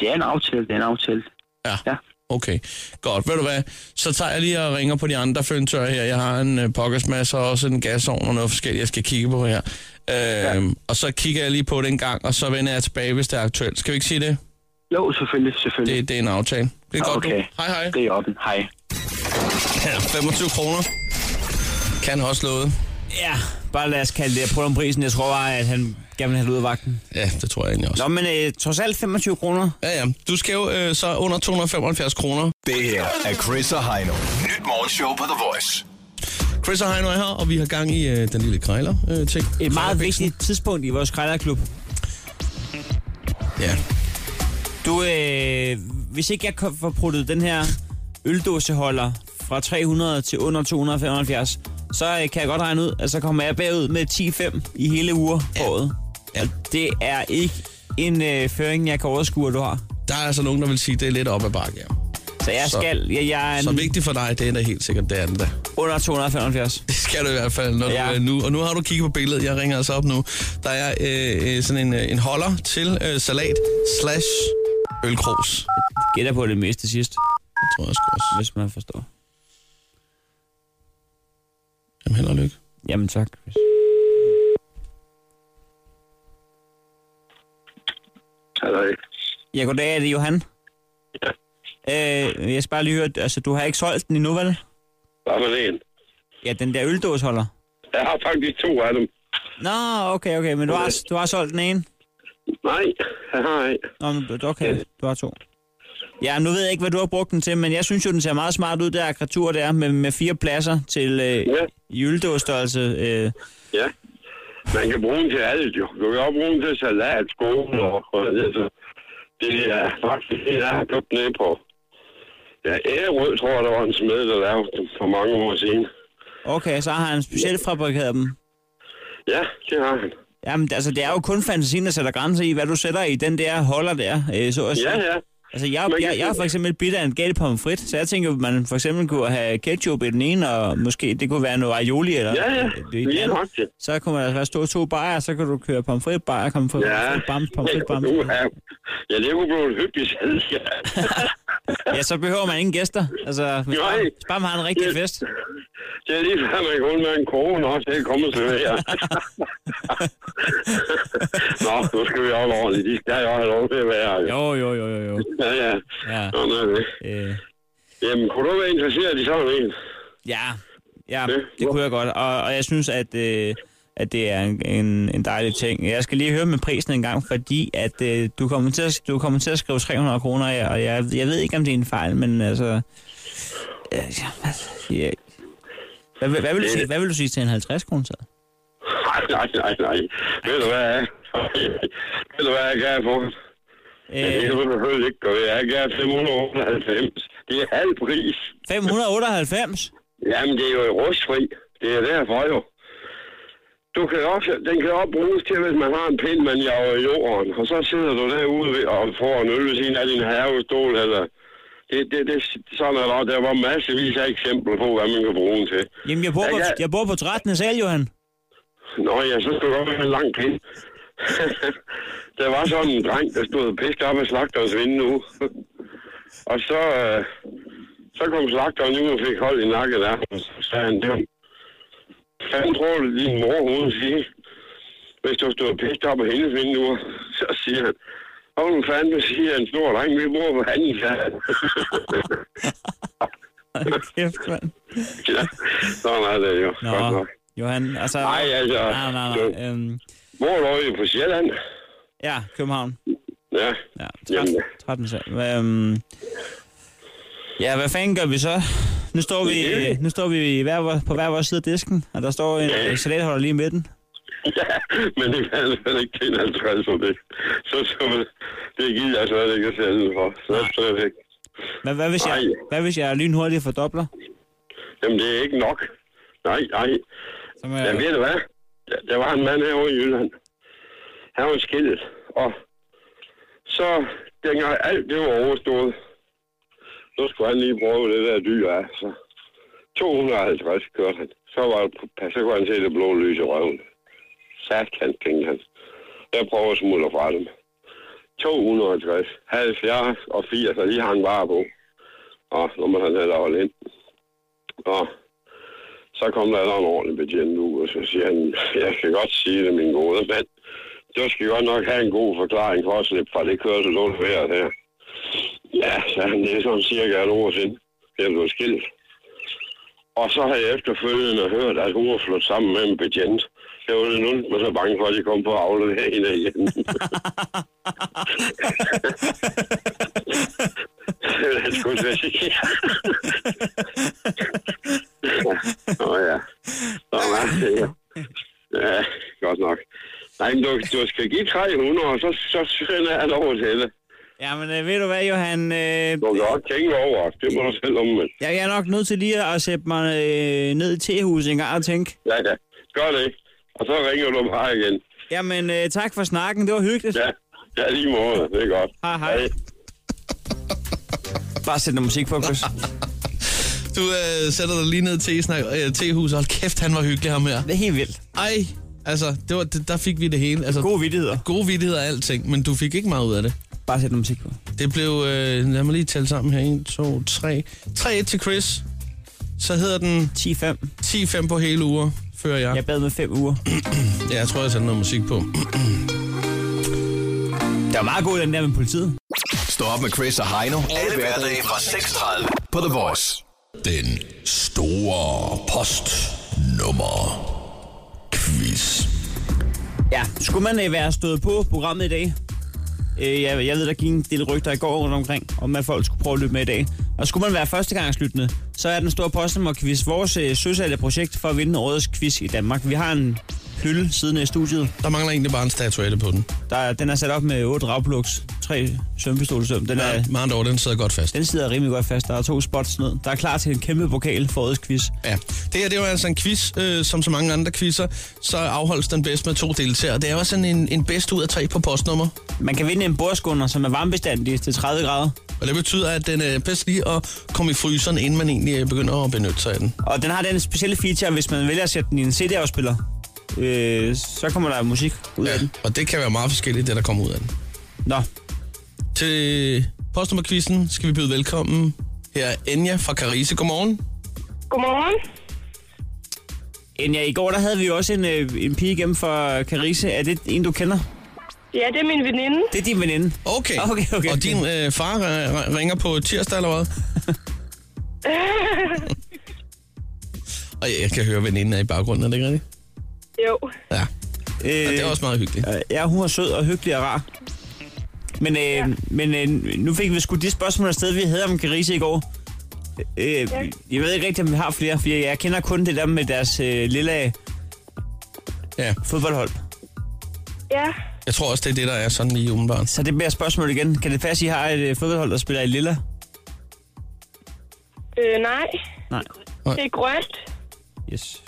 S10: Det er en aftale, det er en aftale.
S3: Ja. ja. Okay, godt. Ved du hvad, så tager jeg lige og ringer på de andre føntører her. Jeg har en øh, pokkersmasse og også en gasovn og noget forskelligt, jeg skal kigge på her. Øhm, ja. Og så kigger jeg lige på det en gang, og så vender jeg tilbage, hvis det er aktuelt. Skal vi ikke sige det?
S10: Jo, selvfølgelig, selvfølgelig.
S3: Det, det er en aftale. Det er godt,
S10: okay.
S3: du. Hej, hej.
S10: Det er oppen. Hej.
S3: Ja, 25 kroner. Kan også noget.
S4: Ja, bare lad os kalde det på om prisen. Jeg tror bare, at han gerne vil have det ud af vagten.
S3: Ja, det tror jeg egentlig også.
S4: Nå, men øh, trods alt 25 kroner.
S3: Ja, ja. Du skal jo øh, så under 275 kroner.
S5: Det her er Chris og Heino. Nyt morgenshow på The Voice.
S3: Chris og Heino er her, og vi har gang i øh, den lille krejler-ting. Øh, ting.
S4: Et meget vigtigt tidspunkt i vores krejlerklub.
S3: Ja.
S4: Du, øh, hvis ikke jeg kan- får puttet den her øldåseholder fra 300 til under 275, så øh, kan jeg godt regne ud, at så kommer jeg bagud med 10-5 i hele uger på året.
S3: Ja.
S4: Og det er ikke en øh, føring, jeg kan overskue, at du har.
S3: Der er altså nogen, der vil sige, at det er lidt op ad bakke, ja.
S4: Så jeg
S3: Så-
S4: skal... Jeg, jeg er
S3: Så
S4: en-
S3: vigtigt for dig, det er da helt sikkert, det er det da.
S4: under 275.
S3: Det skal du i hvert fald, når ja.
S4: Ja.
S3: du øh, nu. Og nu har du kigget på billedet, jeg ringer altså op nu. Der er øh, øh, sådan en, øh, en holder til øh, salat slash ølkros.
S4: Gætter på det meste til sidst,
S3: Det tror jeg sgu også.
S4: hvis man forstår.
S3: Jamen, held og lykke.
S4: Jamen tak, Chris.
S6: Hej.
S4: Ja, goddag, er det Johan? Ja. Øh, jeg skal bare lige høre, altså du har ikke solgt den endnu, vel?
S6: Hvad for en?
S4: Ja, den der øldåsholder.
S6: Jeg har faktisk to af dem.
S4: Nå, okay, okay, men du har, du har solgt den ene?
S6: Nej, jeg har ikke.
S4: Nå, men du- okay, du har to. Ja, nu ved jeg ikke, hvad du har brugt den til, men jeg synes jo, den ser meget smart ud, der akratur der, med, med fire pladser til øh,
S6: Ja.
S4: i øldåsstørrelse. Øh,
S6: Ja. Man kan bruge den til alt, jo. Du kan også bruge den til salat, skole og... og altså, det er faktisk det, jeg har købt ned på. Ja, Ærød, tror jeg, der var en smed, der lavede den for mange år siden.
S4: okay, så har han specielt fabrikeret dem.
S6: Ja, det har han.
S4: Jamen, altså, det er jo kun fantasien, der sætter grænser i, hvad du sætter i den der holder der, øh, så at sige.
S6: Ja, ja.
S4: Altså, jeg,
S6: Man kan
S4: jeg, jeg er
S6: sige-
S4: for eksempel bitter af en gal pomfrit, så jeg tænker, at man for eksempel kunne have ketchup i den ene, og måske det kunne være noget aioli, eller
S6: Ja, ja.
S4: øh, det i den
S6: Lige
S4: anden.
S6: nok det.
S4: Så kunne man altså være stå to bajer, så kan du køre pomfrit, bajer, pomfrit,
S6: Ja.
S4: pomfrit, bams, pomfrit, bams.
S6: Uha. Ja, det kunne blive en hyggelig salg. Ja.
S4: Ja, så behøver man ingen gæster. Altså, hvis
S6: Nej.
S4: bare, bare man har en rigtig
S6: Det-
S4: fest.
S6: Det er lige før, man kan undvære en krone også til at komme og servere. Nå, nu skal vi holde ordentligt. De skal jo have lov til at være. her,
S4: Jo,
S6: Jo.
S4: jo, jo, jo, jo.
S6: Ja, ja.
S4: Ja,
S6: Nå, nej, nej.
S4: øh,
S6: Jamen, kunne du være interesseret i sådan en?
S4: ja, ja
S6: Det-
S4: det kunne jeg godt. Og, og jeg synes, at, øh, at det er en, en, en dejlig ting. Jeg skal lige høre med prisen en gang, fordi at, øh, du, kommer til at, du kommer til at skrive 300 kroner, af, og jeg, jeg ved ikke, om det er en fejl, men altså... øh, Ja, hvad- ja. Hvad, vil- hvad, vil du sige, hvad vil du sige til en 50 kroner? så?
S6: Nej, nej, nej, nej. Ved du hvad? Ved du hvad jeg kan få? Men det
S4: Øh,
S6: kan du selvfølgelig ikke gøre. Jeg kan 598. Det er halv pris.
S4: 598?
S6: Jamen, det er jo rustfri. Det er derfor jo. Du kan også, den kan også bruges til, hvis man har en pind, man jager i jorden, og så sidder du derude ved- og får en øl ved siden af din havestol, eller... Det, det, det, sådan er der. Der var massevis af eksempler på, hvad man kan bruge den til.
S4: Jamen, jeg bor, på,
S6: Ja, ja.
S4: jeg bor på 13. sal, Johan.
S6: Nå ja, så skal du godt have en lang pind.
S11: Der var sådan en dreng, der stod pisket op af slagterens vindue. og så, øh, så kom slagteren ud og fik hold i nakken af ham. Så sagde han, det var fanden tror du, din mor hun sige, hvis du stod pisket op af hendes vindue, så siger han, og hun fanden siger en stor dreng, vi bor på anden side.
S4: Kæft, mand.
S11: ja, sådan er det jo.
S4: Nå.
S11: Godt nok.
S4: Johan, altså...
S11: Nej, altså...
S4: Nej, nej, nej. Øhm,
S11: Hvor lå I på Sjælland?
S4: ja, København.
S11: Ja.
S4: Ja,
S11: Jamen,
S4: 13 så. Øhm, ja, hvad fanden gør vi så? Nu står vi,
S11: Ja.
S4: nu står vi i hver, vor- på hver vores side af disken, og der står en
S11: Ja.
S4: ja. salatholder lige i midten.
S11: ja, men det kan jeg slet ikke tjene 50 for det. Så, så det gider jeg slet ikke at sælge for. Så slet ikke.
S4: Hvad, hvad, hvis, jeg, hvad hvis jeg lynhurtigt fordobler?
S11: Jamen, det er ikke nok. Nej, nej.
S4: Som, øh...
S11: Jeg ved du hvad? Der- Der var en mand herovre i Jylland. Han var skilt. Og så, dengang alt det var overstået, så skulle han lige prøve det der dyr af. Så 250 kørte han. Så, var det, på- så kunne han se det blå lys i røven. Sat kan, tænkte han. Jeg prøver at smuldre fra dem. 250, 70 og 80, og de hang bare på. Og så må han heller holde ind. Og så kom der en ordentlig betjent ud, og så siger han, jeg kan godt sige det, min gode mand. Du skal godt nok have en god forklaring for at slippe fra det kørsel, du her her. Ja, så han, det er sådan cirka et år siden, jeg blev skilt. Og så har jeg efterfølgende hørt, at hun var flyttet sammen med en betjent. Jeg var lidt ondt, men så bange for, at de kom på at aflevere hende igen. det skulle jeg sige. Nå ja. Nå, ja. ja, godt nok. Nej, men du, du skal give 300, og så, så sender jeg det over til det.
S4: Jamen, øh, ved du hvad, Johan? Øh,
S11: Du kan godt tænke over, det må du selv om, men
S4: jeg er nok nødt til lige at sætte mig øh, ned i tehuset en gang og tænke.
S11: ja, ja, gør det. Og så ringer du bare igen.
S4: Jamen, øh, tak for snakken. Det var hyggeligt.
S11: Ja, ja lige måde, det er godt.
S4: Hej, hej. Bare sæt noget musik på, Chris.
S3: Du øh, sætter dig lige ned til snak, øh, tehuset. Hold kæft, han var hyggelig ham her. Det
S4: er helt vildt.
S3: Ej, altså, det var, det, der fik vi det hele. Altså, gode
S4: vidtigheder.
S3: Gode vidtigheder og alting, men du fik ikke meget ud af det.
S4: Bare sæt noget musik på.
S3: Det blev, øh, lad mig lige tælle sammen her. 1, 2, 3. 3-1 til Chris. Så hedder den...
S4: 10-5.
S3: 10-5 på hele uger, fører jeg. Jeg
S4: bad med 5 uger.
S3: ja, jeg tror, jeg sætter noget musik på.
S4: Det var meget god den der med politiet.
S12: Stå op med Chris og Heino. Alle hverdage fra 6.30 på The Voice. Den store post nummer quiz.
S4: Ja, skulle man øh, være stået på programmet i dag? Øh, jeg, jeg ved, der gik en del rygter i går rundt omkring, om at folk skulle prøve at lytte med i dag. Og skulle man være førstegangslyttende, så er den store postnummerquiz vores øh, søsatte projekt for at vinde årets quiz i Danmark. Vi har en hylde siden af studiet.
S3: Der mangler egentlig bare en statuette på den.
S4: Der, er- den er sat op med otte ragplugs, tre sømpistolesøm. Den er,
S3: Med andre ord, den sidder godt fast.
S4: Den sidder rimelig godt fast. Der er to spots ned. Der er klar til en kæmpe pokal for årets quiz.
S3: Ja, det her det var altså en quiz, øh, som så mange andre quizzer, så afholdes den bedst med to deltagere. Det er også sådan en, en bedst ud af tre på postnummer.
S4: Man kan vinde en bordskunder, som er varmebestandig til 30 grader.
S3: Og det betyder, at den er bedst lige at komme i fryseren, inden man egentlig øh, begynder at benytte sig af den.
S4: Og den har den specielle feature, hvis man vælger at sætte den i en CD-afspiller, øh, så kommer der musik ud ja. af den.
S3: Og det kan være meget forskelligt, det der kommer ud af den.
S4: Nå.
S3: Til postnummerquizzen skal vi byde velkommen. Her er Enja fra Karise. Godmorgen.
S9: Godmorgen.
S4: Enja, i går der havde vi jo også en, øh, en pige igennem fra Carise. Er det en, du kender?
S9: Ja, det er min veninde.
S4: Det er din veninde.
S3: Okay.
S4: okay, okay.
S3: Og din øh, far øh, r- ringer på tirsdag eller hvad? Og jeg, jeg kan høre, veninden er i baggrunden, er det ikke rigtigt?
S9: jo.
S3: Ja. Og det er også meget hyggeligt.
S4: Øh, Ja, hun er sød og hyggelig og rar. Men, øh, ja. men øh, nu fik vi sgu de spørgsmål afsted, vi havde om Carise i går. Øh, ja. Jeg ved ikke rigtigt, om vi har flere, for jeg kender kun det der med deres øh, lille
S3: ja.
S4: fodboldhold.
S9: Ja.
S3: Jeg tror også, det er det, der er sådan lige umiddelbart.
S4: Så det bliver spørgsmål igen. Kan det passe, I har et øh, fodboldhold, der spiller i lilla?
S9: Øh, nej.
S4: Nej.
S9: Det er grønt.
S4: Yes.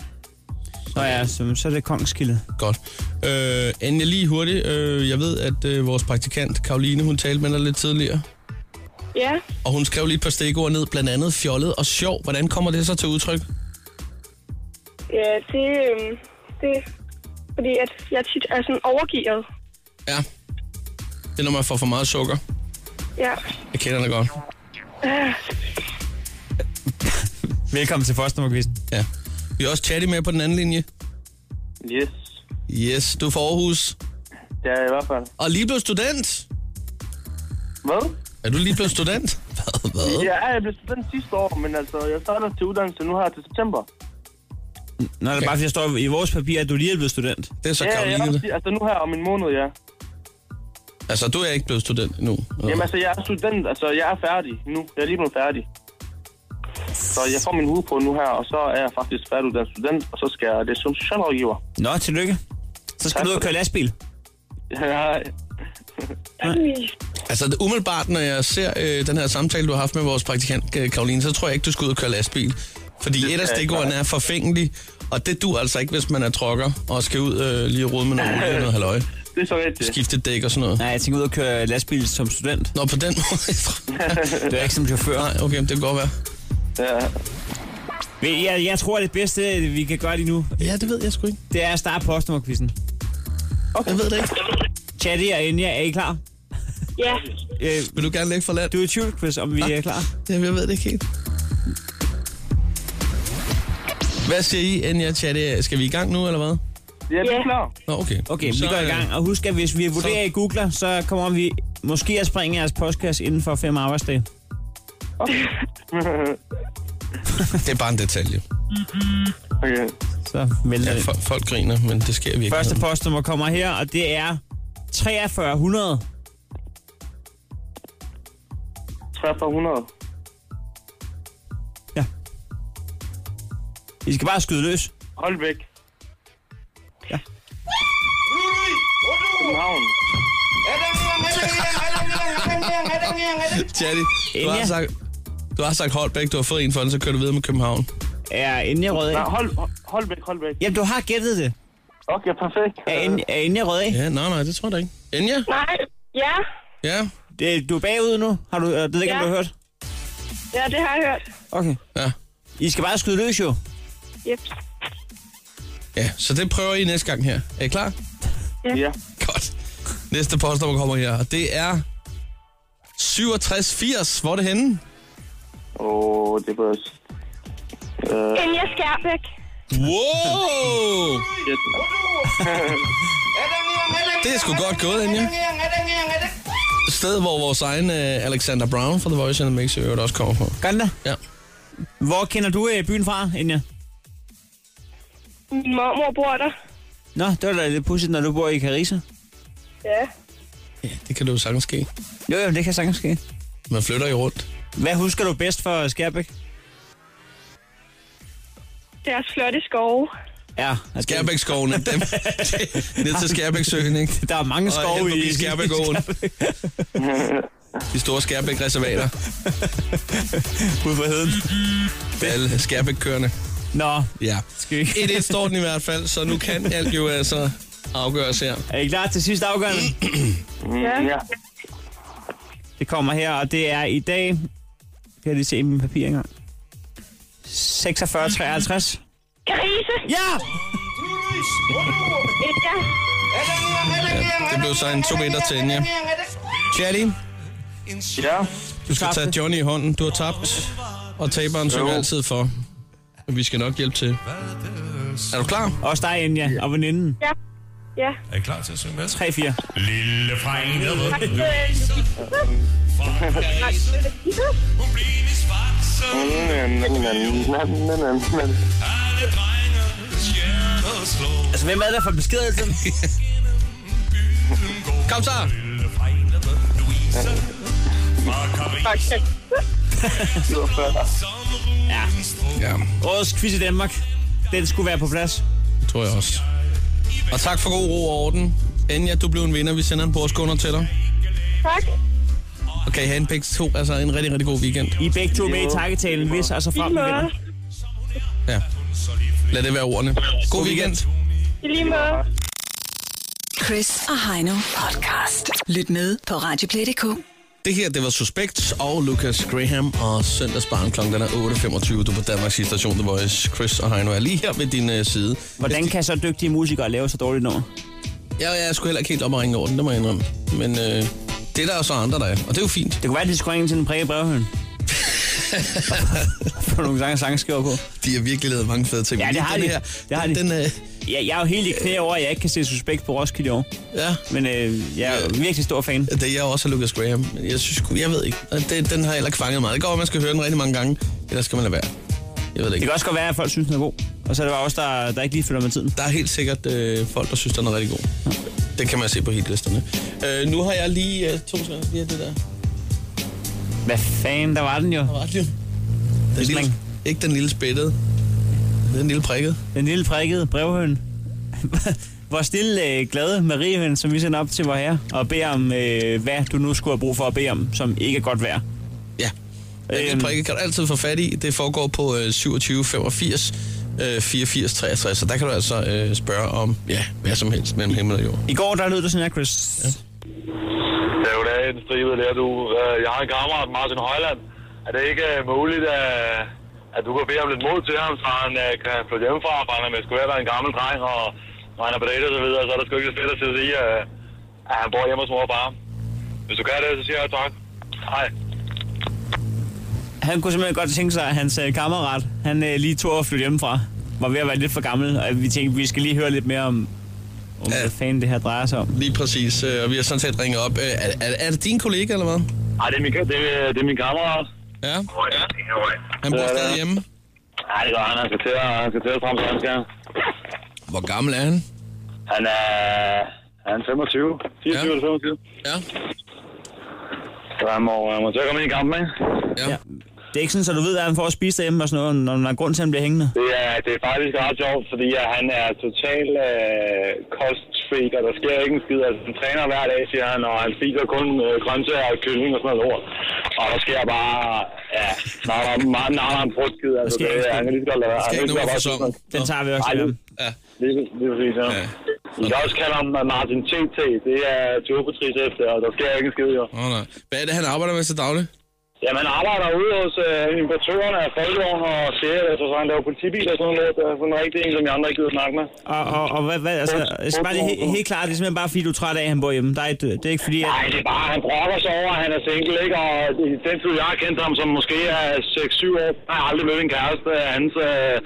S4: Nå ja, så, så er det kongskilde.
S3: Godt. Øh, Anja, lige hurtigt. Øh, jeg ved, at øh, vores praktikant Karoline, hun talte med dig lidt tidligere.
S9: Ja.
S3: Og hun skrev lige et par stikord ned, blandt andet fjollet og sjov. Hvordan kommer det så til udtryk?
S9: Ja, det, øh, det fordi at jeg tit er sådan overgivet.
S3: Ja. Det er, når man får for meget sukker.
S9: Ja.
S3: Jeg kender det godt.
S4: Velkommen til Fosternummerquizzen.
S3: Ja. Vi har også Chatty med på den anden linje.
S13: Yes,
S3: Yes, du er fra Aarhus.
S13: det er jeg i hvert fald.
S3: Og lige blevet student.
S13: Hvad?
S3: Er du lige blevet student? Hvad? Hvad?
S13: Ja, jeg blev student sidste år, men altså, jeg starter til uddannelse nu her til september.
S4: Nå, det er bare, fordi der står i vores papir, at du lige er blevet student.
S3: Det er så
S13: ja,
S3: Karoline.
S13: jeg, altså nu her om en måned, ja.
S3: Altså, du er ikke blevet student endnu.
S13: Jamen altså, jeg er student, altså jeg er færdig nu. Jeg er lige blevet færdig. Så jeg får min hue på nu her, og så er jeg faktisk færdiguddannet student, og så skal jeg det som socialrådgiver.
S4: Nå, tillykke. Så skal
S13: Tak
S4: du ud
S13: for
S4: og køre
S13: det.
S4: lastbil.
S13: Ja,
S3: Altså, det- umiddelbart, når jeg ser øh, den her samtale, du har haft med vores praktikant, øh, Karoline, så tror jeg ikke, du skal ud og køre lastbil. Fordi et af
S13: jeg ikke,
S3: stikordene
S13: nej.
S3: er forfængelig, og det du altså ikke, hvis man er trokker og skal ud øh, lige rode med noget olie og noget halløj.
S13: det er så rigtigt.
S3: Skifte dæk og sådan noget.
S4: Nej, jeg tænker ud og køre lastbil som student.
S3: Nå, på den måde.
S4: Du er ikke som chauffør.
S3: Nej, okay, det kan godt være.
S13: Ja.
S4: Men jeg, jeg tror, det bedste, vi kan gøre lige nu,
S3: Ja, det ved jeg sgu ikke.
S4: det er at starte postnummerquizzen.
S3: Okay. Jeg ved det ikke.
S4: Chatty og Enja, er I klar?
S9: Ja.
S4: Øh,
S3: Vil du gerne lægge for land?
S4: du er i tvivl, Chris, om vi er klar.
S3: Jamen, jeg ved det ikke helt. Hvad siger I, inden jeg chatter? Skal vi i gang nu, eller hvad?
S13: Ja, det er klar.
S3: Nå, okay.
S4: Okay,
S3: Så,
S4: vi går i
S3: øh,
S4: gang. Og husk, at hvis vi vurderer, at I googler, så kommer vi måske at springe jeres postkasse inden for fem arbejdsdage.
S13: Okay.
S3: øh, Det er bare en detalje.
S13: okay.
S4: Så vælter
S3: Ja,
S4: det.
S3: folk, folk griner, men det sker virkelig.
S4: Første postnummer kommer her, og det er 4300.
S13: 4300.
S4: I skal bare skyde løs.
S13: Hold væk.
S4: Ja.
S13: København.
S3: Chatty, du
S4: Enja.
S3: har sagt... Du har sagt Holbæk, du har fået en for den, så kører du videre med København.
S4: Er inden jeg rød
S13: Nej,
S4: af.
S13: hold, hold væk, hold væk.
S4: Jamen, du har gættet det.
S13: Okay, perfekt.
S4: Er inden, er inden jeg rød af.
S3: Ja, nej, nej, det tror jeg da ikke. Enja?
S9: Nej. Ja.
S3: Ja,
S4: Det, du er bagud nu. Har du, øh, det ved jeg ikke, om
S9: Ja.
S4: du har hørt.
S9: Ja, det har jeg hørt.
S4: Okay.
S3: ja.
S4: I skal bare skyde løs, jo.
S9: Yep.
S3: Ja, så det prøver I næste gang her. Er I klar?
S13: Ja.
S3: Godt. Næste postnummer kommer her, og det er 6780. Hvor er det henne?
S13: Åh, oh, det var... Øh,
S9: Enja Skærbæk.
S3: Wow!
S13: shit.
S3: Det er sgu godt gået, Enja. Sted, hvor vores egen øh, Alexander Brown fra The Voice and the Mix i øvrigt også kommer fra.
S4: Gør den da.
S3: Ja.
S4: Hvor kender du øh, byen fra, Enja?
S9: Min mormor bor der.
S4: Nå, det var da lidt pudsigt, når du bor i Carissa.
S9: Ja.
S3: ja, det kan du jo sagtens ske.
S4: Jo, jo, det kan sagtens ske.
S3: Man flytter jo rundt.
S4: Hvad husker du bedst for Skærbæk?
S9: Deres flotte skove.
S4: Ja, altså,
S3: Skærbækskovene, dem. Ned til Skærbæksøen, ikke?
S4: Der er mange
S3: Og
S4: skove
S3: hen
S4: i
S3: forbi Skærbækåen. De store Skærbæk-reservater.
S4: Ude for heden.
S3: for Alle Skærbæk-kørende.
S4: Nå,
S3: Ja.
S4: skal vi...
S3: 1-1 står den i hvert fald, så nu kan alt jo altså afgøres her.
S4: er I klar til sidste afgørende?
S9: Ja.
S13: Ja.
S4: Det kommer her, og det er i dag... Kan jeg lige se i mine papirer engang? 46, 53.
S9: Karise.
S4: Ja!
S9: Enja.
S3: Det blev så en 2-1 til Enja. Chatty,
S13: Ja.
S3: du skal
S4: Tabte.
S3: tage Johnny i hånden. Du har tabt, og taberen synger altid for. Men Vi skal nok hjælpe til. Er du klar?
S4: Også dig, Enja, og veninden.
S9: Ja. Ja.
S14: Er I klar til at synge med?
S4: 3-4.
S14: Lille Fregnede,
S9: Tak til
S14: hun blev i svart som alle drenges hjerter slår.
S4: Altså, hvem er der for besked til?
S14: Gennem byen går
S3: Kom så!
S14: Lille Fregnede, Louise, Margarita, som rosen strå.
S3: Ja,
S4: Årets quiz i Danmark. Den skulle være på plads.
S3: tror jeg også. Og tak for god ro og orden. Enja, du blev en vinder. Vi sender en bordskunder til dig.
S9: Tak.
S3: Og kan I have en begge to, altså en rigtig, rigtig god weekend.
S4: I er begge to med i takketalen, hvis og så frem
S9: I lige måde.
S4: vinder.
S3: Ja. Lad det være ordene. God weekend.
S9: I lige måde.
S2: Chris og Heino podcast. Lyt med på Radioplay.dk.
S3: Det her, det var Suspekt og Lucas Graham og søndagsbarn klokken den er 8.25. Du er på Danmarks sidste station The Voice. Chris og Heino er lige her ved din øh, side.
S4: Hvordan kan så dygtige musikere lave så dårligt nummer?
S3: Jeg, jeg er sgu heller ikke helt op og ringe over den, det må jeg indrømme. Men øh, Det er der jo så andre, der er, og det er jo fint.
S4: Det kunne være, at de skulle ringe til den prikke brevhøn. For nogle sange sangskriver på.
S3: De har virkelig lavet mange fede ting.
S4: Ja,
S3: men
S4: det
S3: lige
S4: har
S3: den
S4: de.
S3: Her,
S4: det har
S3: den,
S4: de.
S3: Den, øh,
S4: ja, jeg er jo helt i knæ over, at jeg ikke kan se suspekt på Roskilde i år.
S3: Ja.
S4: Men øh, jeg er virkelig stor fan.
S3: Det er jeg også af Lucas Graham. men Jeg synes, sgu- jeg ved ikke. Det, den har heller ikke fanget mig. Det går, at man skal høre den rigtig mange gange, ellers skal man lade være. Jeg ved det ikke.
S4: Det kan også godt være, at folk synes, den er god. Og så er det bare også der, der ikke lige følger med tiden.
S3: Der er helt sikkert øh, folk, der synes, den er rigtig god. Det kan man se på hitlisterne. Øh, nu har jeg lige øh, to sekunder. Lige af det der.
S4: Hvad fanden, der var den jo. Der
S3: var den jo. Den lille, ikke den lille spættede. Den lille prikket.
S4: Den lille prikkede brevhøn. Hvor stille øh, glade Mariehøn, som vi sender op til vor herre, og beder om, øh, hvad du nu skulle have brug for at bede om, som ikke er godt værd.
S3: Ja. Den øhm. prikke kan du altid få fat i. Det foregår på øh, 27 85 øh, 84 63, så der kan du altså øh, spørge om ja, hvad som helst mellem himmel og jord.
S4: I går der lød det sådan her, Chris. Ja.
S11: Det er jo da en stribe der, du. Øh, Jeg har en kammerat, Martin Højland. Er det ikke øh, muligt, at, at du kan bede om lidt mod til ham, så han øh, kan flytte hjemmefra, for han er med være en gammel dreng, og når han er på date og så videre, så er der sgu ikke lidt fedt at sidde i, øh, at han bor hjemme hos mor og far. Hvis du kan det, så siger jeg tak. Hej.
S4: Han kunne simpelthen godt tænke sig, at hans øh, kammerat, han øh, lige tog at flytte hjemmefra, var ved at være lidt for gammel, og vi tænkte, vi skal lige høre lidt mere om, om ja. hvad fanden det her drejer sig om.
S3: Lige præcis, øh, og vi har sådan set ringet op. Øh, Er, er, er det din kollega, eller hvad?
S11: Nej, det er min, det er, det er min kammerat.
S3: Ja.
S11: ja.
S3: Han bor stadig hjemme.
S11: Nej, det gør han. Han skal til at, han skal til at frem, så han skal.
S3: Hvor gammel er han?
S11: Han er, han er 25. 24 ja. eller 25.
S3: Ja.
S11: Så han må, han må til at komme ind i kampen, ikke?
S3: Ja. ja.
S4: Det er ikke sådan, at du ved, at han får at spise derhjemme og sådan noget, når der er grund til, at han bliver hængende.
S11: Det er, det er faktisk ret sjovt, fordi at han er total øh, kostfreak, og der sker ikke en skid. Altså, han træner hver dag, siger han, og han spiser kun øh, grøntsager og kylling og sådan noget lort. Og der sker bare, ja, nej, der er meget nej, en brudskid. Altså, det, er- han kan lige så godt lade være. Han kan lige så godt bare spise noget.
S4: Den tager vi også
S11: Ej,
S4: lidt
S11: det-
S4: om.
S3: Ja.
S11: Det er det er præcis, ja. Vi kan også kalde ham Martin TT. Det er turbotrist efter, og der sker ikke en skid, jo.
S3: Åh, nej. Hvad er det, han arbejder med til daglig?
S11: Jamen, han arbejder ude hos øh, importørerne af folkevogn og sjæle, altså, så han laver politibiler og sådan noget. Det er sådan rigtig en, som jeg andre ikke gider snakke med.
S4: Og, og, og hvad, hvad, altså, jeg skal bare lige, he- helt klart, det er simpelthen bare fordi, du er træt af, at han bor hjemme. Der er et, det er ikke fordi, at...
S11: Nej, det er bare, han brokker sig over, at han er single, ikke? Og i den tid, jeg har kendt ham, som måske er 6-7 år, har jeg aldrig mødt en kæreste af hans. Øh,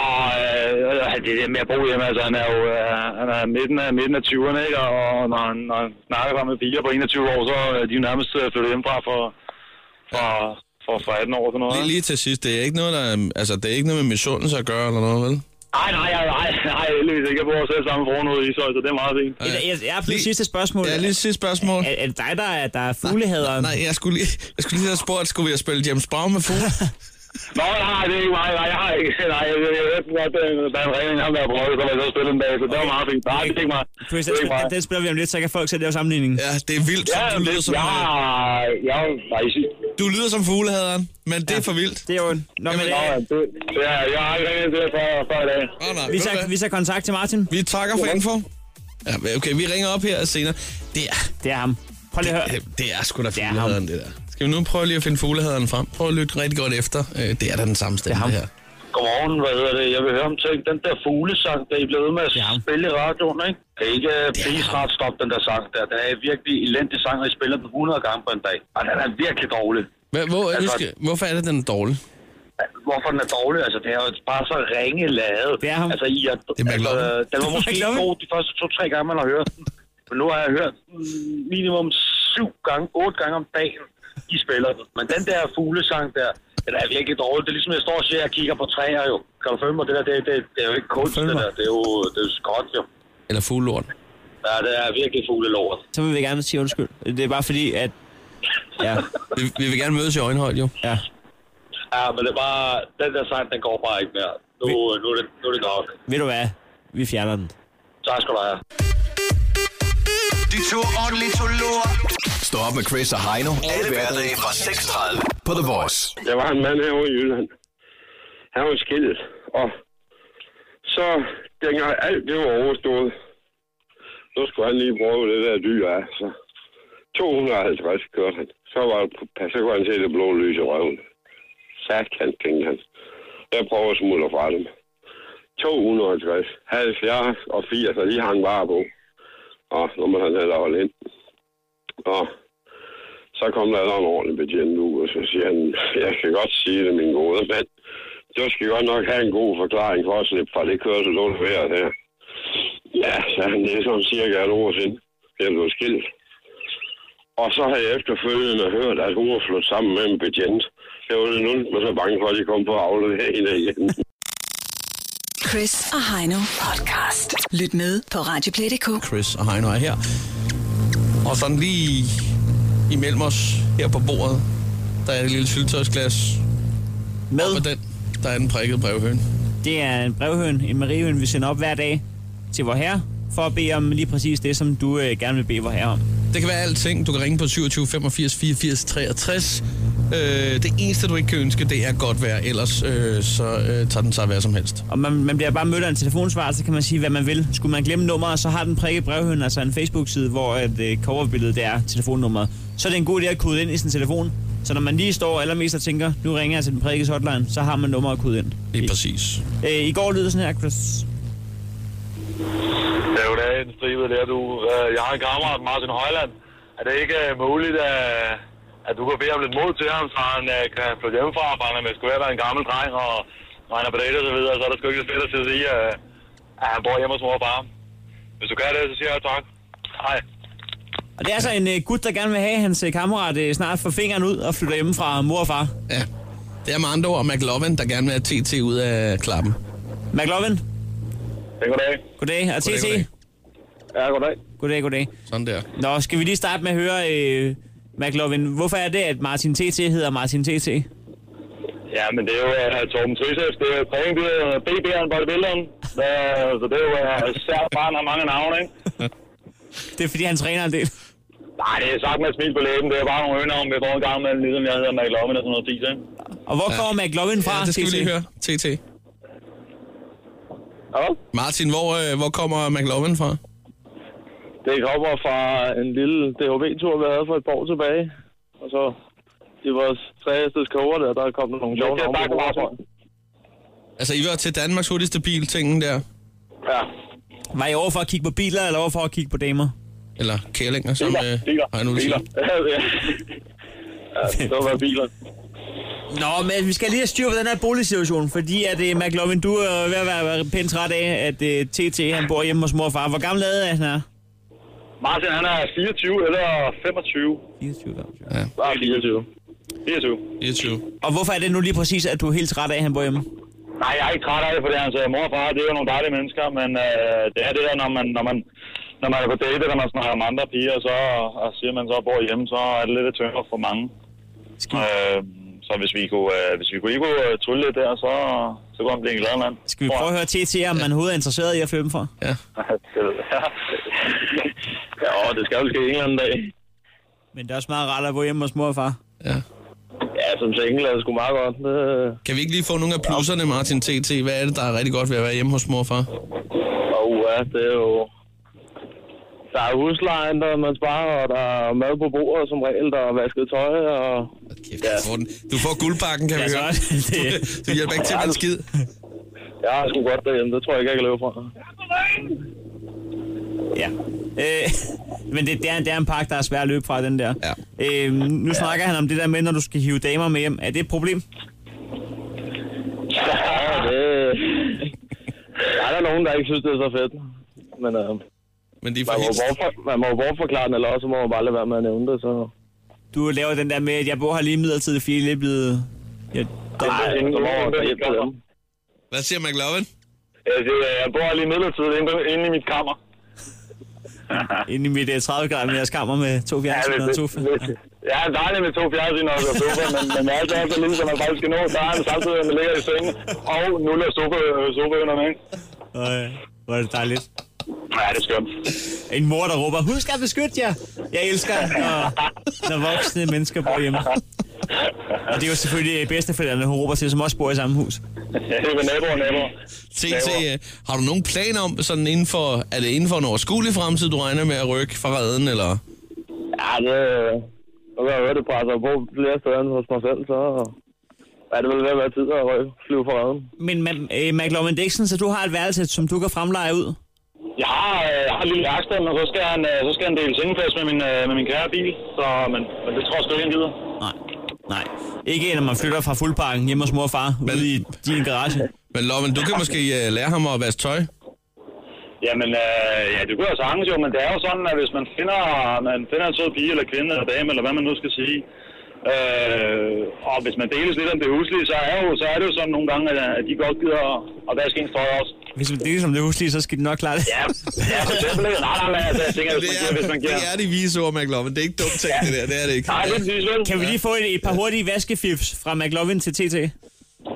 S11: og øh, det der med at bo hjemme, altså, han er jo øh, han er midten af, midten af 20'erne, ikke? Og når han, når han snakker bare med piger på 21 år, så øh, de er jo nærmest øh, flyttet hjemmefra for, for, for, for 18 år og sådan noget.
S3: Lige, lige til sidst, det er ikke noget, der, altså, det er ikke noget med misundelse at gøre, eller noget, vel?
S11: Nej, nej, nej, nej, nej, heldigvis ikke. Jeg bor selv sammen med fruen ude i Ishøj, så det er meget fint.
S4: Jeg, jeg, jeg er på det sidste spørgsmål. Ja,
S3: lige sidste spørgsmål.
S4: Er, er det dig, der er, der er fuglehaderen?
S3: Nej, jeg skulle lige, jeg skulle lige have spurgt, skulle vi have spillet James Brown med fod?
S11: Nå, nej, det er ikke mig. Nej, jeg har ikke. Nej, jeg, jeg, jeg ved godt, at der er en regning, ham der har prøvet, så jeg så spille en dag, så det var meget fint. Nej, det er ikke mig.
S4: Chris,
S11: Det
S4: den,
S11: er ikke mig.
S4: spil- den spiller vi om lidt, så kan folk selv lave sammenligningen.
S3: Ja, det er vildt.
S11: Ja,
S3: du lyder som... øh,
S11: jeg, jeg, nej,
S3: Du lyder som fuglehaderen, men det er for vildt.
S4: Det er jo en... Nå, men, øh,
S11: Nå, ja, det, ja, jeg har ikke ringet til jer for, for i dag.
S3: Nå, nej,
S4: vi,
S3: ved du
S4: tager,
S3: hvad?
S4: vi tager kontakt til Martin.
S3: Vi takker for info. Ja, okay, vi ringer op her senere. Det er... øh,
S4: Det er ham. Prøv lige at høre.
S3: Det, det er sgu da fuglehaderen, det der. Skal vi nu prøve lige at finde fuglehaderen frem? Prøv at lytte rigtig godt efter. Øh, Det er da den samme stemme, det, her.
S11: Godmorgen, hvad hedder det? Jeg vil høre om ting. Den der fuglesang, der I blev ved med at spille i radioen, ikke? Kan I ikke øh, please snart stoppe den der sang der? Den er virkelig elendig sang, og I spiller den 100 gange på en dag. Og den er virkelig dårlig.
S3: Hvad, hvor,
S11: Altså-
S3: altså, skal, hvorfor er det, den er dårlig?
S11: hvorfor den er dårlig. Altså, det er jo bare så ringe lavet.
S4: Det er ham.
S11: Altså, I er,
S3: det er
S11: altså, den var måske ikke god de første to-tre gange, man har hørt den. Men nu har jeg hørt mm, minimum syv gange, otte gange om dagen, I spiller den. Men den der fuglesang der, den er virkelig dårlig. Det er ligesom, jeg står og ser, jeg kigger på træer jo. Kan du følge mig? Det der, det, det, det er jo ikke kunst, det der. Det er jo, det er jo skot, jo.
S3: Eller fuglelort?
S11: Ja, det er virkelig fuglelort.
S4: Så vil vi gerne sige undskyld. Det er bare fordi, at... Ja.
S3: Vi, vi vil gerne mødes i øjenhøjde, jo.
S4: Ja.
S11: Ja, men det er bare, den der sang, den går bare ikke mere. Nu, nu, er, det, nu er det nok.
S4: Ved du hvad? Vi fjerner den.
S11: Tak skal du have.
S5: De to ordentlige to Stå op med Chris og Heino. Alle hverdage fra 6.30 på The Voice.
S15: Der var en mand herovre i Jylland. Han var skilt, og så dengang alt det var overstået, så skulle han lige prøve det der dyr af. Så 250 kørte han. Så, var det, så kunne han se det blå lys i røven. Sagt han, tænkte han. Jeg prøver at smutte fra dem. 250, 70 og 80, og de hang bare på. Og når man havde lavet ind. Og
S6: Så kom der en ordentlig betjent ud, og så siger han, jeg kan godt sige det, min gode mand. Du skal godt nok have en god forklaring for at slippe fra det kørsel under vejret her. Ja, så han, det er sådan cirka et år siden, jeg blev skilt. Og så har jeg efterfølgende hørt, at hun var slået sammen med en betjent. Jeg var nu var så bange for, at de kom på at aflevere hende igen.
S2: Chris og Heino podcast. Lyt med på Radioplay.dk.
S3: Chris og Heino er her. Og sådan lige imellem os her på bordet, der er et lille syltøjsglas. Med? Og på den, der er den prikkede brevhøn.
S4: Det er en brevhøn, en mariehøn, vi sender op hver dag til vor herre, for at bede om lige præcis det, som du øh, gerne vil bede vor herre om.
S3: Det kan være alting. Du kan ringe på 27 85 84 63. Øh, det eneste, du ikke kan ønske, det er godt vejr. Ellers øh, så øh, tager den sig hvad som helst.
S4: Og man, man bliver bare mødt af en telefonsvar, så kan man sige, hvad man vil. Skulle man glemme nummeret, så har den prikket brevhøn, altså en Facebook-side, hvor at, øh, coverbilledet det er telefonnummeret. Så er det en god idé at kode ind i sin telefon. Så når man lige står allermest og tænker, nu ringer jeg til den prikkes hotline, så har man nummeret at kode ind.
S3: Lige præcis.
S4: Øh, I går lød det sådan her, Chris.
S11: Det er jo da en stribe der, du. Øh, Jeg har en kammerat, Martin Højland. Er det ikke øh, muligt, at, at du kan bede om lidt mod til ham, så han øh, kan flytte hjemmefra, for han er med sgu ved at være en gammel dreng og regner på data og så videre, så er der sgu ikke lidt fedt til at sige, øh, at han bor hjemme hos mor og far. Hvis du kan det, så siger jeg tak. Hej.
S4: Og det er altså en øh, gut, der gerne vil have at hans øh, kammerat øh, snart får fingeren ud og flytter hjemme fra mor og far.
S3: Ja. Det er med andre ord McLovin, der gerne vil have TT ud af klappen.
S4: McLovin?
S11: Ja, goddag.
S4: Goddag, og TT?
S3: Goddag, goddag.
S11: Ja, goddag.
S4: Goddag, goddag.
S3: Sådan der.
S4: Nå, skal vi lige starte med at høre, øh, McLovin, hvorfor er det, at Martin TT hedder Martin TT?
S11: Ja, men det er jo uh, Torben Trisef, det er prægenbyder, BB'eren, bodybuilderen. Uh, så det er jo uh, sært barn har mange navne, ikke?
S4: Det er fordi, han træner en del.
S11: Nej, det er sagt med et smil på læben, det er bare nogle øgenavn, vi går en gang med, ligesom jeg hedder McLovin og sådan noget tis, ikke?
S4: Og hvor
S3: Ja.
S4: kommer McLovin fra,
S3: Ja, det skal vi
S4: TT?
S3: lige høre. TT.
S11: Hallo?
S3: Martin, hvor, øh, hvor kommer McLovin fra?
S11: Det kommer fra en lille DHB-tur, vi havde for et par år tilbage. Og så i vores træhestes koger der, der er kommet nogle sjove navne. på bordet.
S3: Altså, I var til Danmarks hurtigste bil, tingen der.
S11: Ja.
S4: Var I over for at kigge på biler, eller over for at kigge på damer?
S3: Eller kælinger, som
S4: Biler,
S3: øh,
S4: biler,
S3: har en ulv
S4: biler.
S3: siger.
S11: Ja, ja. ja, det var biler.
S4: Nå, men vi skal lige have styr på den her boligsituation, fordi at uh, McLovin, du er ved at være pænt træt af, at uh, TT han bor hjemme hos mor og far. Hvor gammel er han er?
S11: Martin, han er 24 eller 25.
S4: 24,
S3: ja.
S11: Bare 24. 24.
S3: 24.
S4: Og hvorfor er det nu lige præcis, at du er helt træt af, at han bor hjemme?
S11: Nej, jeg er ikke træt af det, fordi hans øh, mor og far, det er jo nogle dejlige mennesker, men øh, det er det der, når man, når man, når man er på date, når man snakker om andre piger, så, og siger man så bor hjemme, så er det lidt et tyngere for mange. Øh, så hvis vi kunne, øh, hvis vi kunne ikke kunne øh, trylle lidt der, så, så kunne han blive en glad mand.
S4: Skal vi prøve at høre TT, om man overhovedet er interesseret i at flytte dem for?
S3: Ja.
S11: ja, åh, det skal jo ske en eller anden dag.
S4: Men det er også meget rart at bo hjemme hos mor og far.
S11: Ja, som single er det sgu meget godt. Øh,
S3: Kan vi ikke lige få nogle af plusserne, Martin TT? Hvad er det, der er rigtig godt ved at være hjemme hos mor og far?
S11: Og ja, det er jo... Der er huslejen, der man sparer, og der er mad på bordet som regel, der er vasket tøj, og...
S3: Kæft, du får den. Du får guldpakken, kan vi høre. Du, du hjælper ikke til med en skid.
S11: Jeg har sgu godt derhjemme, det tror jeg ikke, jeg kan løbe fra.
S4: Ja. Øh, men det, det, er, det er en pakke, der er svær at løbe fra, den der.
S3: Ja.
S4: Øh, nu snakker han om det der med, når du skal hive damer med hjem. Er det et problem?
S11: Ja, det... Der er der nogen, der ikke synes, det er så fedt. Men, øh,
S3: Men de
S11: man, må
S4: helt-
S11: bortfor, man må jo bortforklare den, eller også må man bare lade være med at nævne det, så...
S4: Du laver den der med, at jeg bor her lige midlertidigt, fordi jeg lige er blevet... Jeg,
S11: Nej, så må man hjælpe til dem.
S3: Hvad siger McLovin?
S11: Jeg, siger, jeg bor lige midlertidigt inde, inde i mit kammer.
S4: Inde i mit uh, 30 grader, men jeg skammer med to fjernsyn og to fjernsyn.
S11: Ja, dejligt med to fjernsyn og en sofa, men, men jeg er altid så lille, som man faktisk skal nå. Så er han samtidig, at man ligger i sengen og nuller sofa, øh, sofa under mig.
S4: Øh, hvor er det dejligt.
S11: Ja, det er skønt.
S4: En mor, der råber, husk at beskytte jer. Jeg elsker, når, når voksne mennesker bor hjemme. Og det er jo selvfølgelig øh, bedsteforældrene, hun råber til, som også bor i samme hus.
S11: Ja, det er med naboer, naboer.
S3: TT, øh, har du nogen planer om, sådan inden for, er det inden for en overskuelig fremtid, du regner med at rykke fra redden, eller?
S11: Ja, det... øh, Nu kan jeg høre, det presser på flere steder end hos mig selv, så... Ja, det vil være, være tid at røge, flyve fra redden.
S4: Men Ma- øh, McLovin, det er ikke sådan, at du har et værelse, som du kan fremleje ud?
S11: Jeg har, øh, jeg har et lille værksted, men så skal han, øh, så skal han dele sengeplads med min, øh, med min kære bil. Så, men, men det tror jeg sgu ikke, han gider.
S4: Nej. Ikke når man flytter fra fuldparken hjemme hos mor og far, men, ude i din garage.
S3: Men Loven, du kan måske uh, lære ham at vaske tøj.
S11: Jamen, øh, ja, det kunne jeg sagtens jo, men det er jo sådan, at hvis man finder, man finder en sød pige eller kvinde eller dame, eller hvad man nu skal sige, øh, og hvis man deles lidt om det huslige, så er, jo, så er det jo sådan nogle gange, at, at de godt gider at, at vaske ens tøj også.
S4: Hvis man deler som det huslige, så skal det nok klare det.
S11: Ja, ja for eksempel. ikke? Nej, nej, nej, altså, jeg tænker, hvis man giver, hvis man giver.
S3: Det er de vise ord, McLovin. Det er ikke dumt tænkt, det der. Det er det ikke.
S11: Nej, det synes jeg.
S4: Kan vi lige få et, et par hurtige vaskefifs fra McLovin til TT?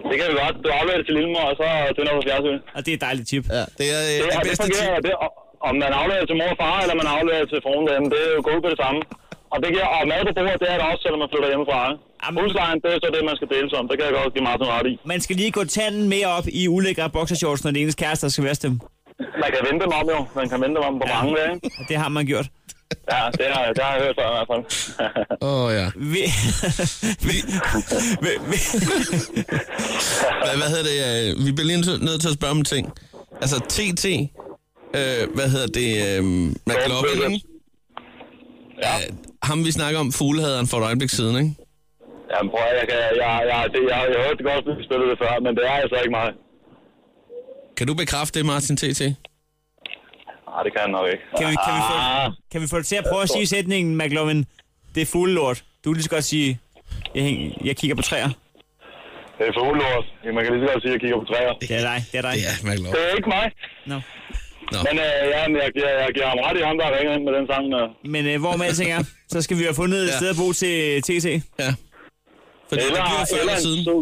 S11: Det kan vi godt. Du afleverer det til Lillemor, og så tænder du på fjernsynet.
S4: Og det er et dejligt tip.
S3: Ja, det er øh,
S11: Det,
S3: det
S11: og det
S3: bedste tip.
S11: fungerer, det, og- om man afleverer til mor og far, eller man afleverer til fruen derhjemme, det er jo gået på det samme. Og det giver, og mad på bordet, det er der også, selvom man flytter hjemmefra. ikke? Huslejen, det er så det, man skal dele som. Det kan jeg godt give Martin ret i.
S4: Ah, Man skal lige gå tanden med op i ulækre boxershorts, når det er ens kæreste, der skal vaske dem.
S11: Man kan vente dem om jo. Man kan vente dem om på ja. mange dage. ikke?
S4: Det har man gjort.
S11: Ja, det har, det har jeg hørt før i hvert fald.
S3: Åh, oh, ja.
S4: Vi... vi... vi... vi...
S3: Hvad, hvad hedder det? øh, Vi bliver lige nødt- nødt til at spørge om en ting. Altså, TT, øh, hvad hedder det? Øh, McLovin, ikke? Ja. Ham, vi snakker om, fuglehaderen for et øjeblik siden, ikke?
S11: Jamen prøv at, jeg, kan, jeg, jeg, det, jeg, jeg hørte det godt, at vi spillede det før, men det er altså ikke mig.
S3: Kan du bekræfte det, Martin TT?
S11: Nej, det kan jeg nok ikke.
S4: Kan vi, kan, vi få, kan vi få det til at prøve at sige sætningen, McLovin? Det er fulde lort. Du kan lige så godt sige, jeg, hæng- jeg kigger på træer.
S11: Det er for ulort. Man kan lige så godt sige, at jeg kigger på træer.
S4: Det er dig, det er dig.
S3: Ja, McLovin.
S11: Det er ikke mig.
S4: No.
S3: Nå.
S11: Men øh, ja, men jeg, jeg, jeg giver ham ret i ham, der ringer ind med den sang. Der.
S4: Men øh, hvor med alting er, så skal vi have fundet et
S11: Ja.
S4: sted at bo til TT.
S3: Ja. Fordi det bliver før eller
S11: en
S3: siden.
S11: sød,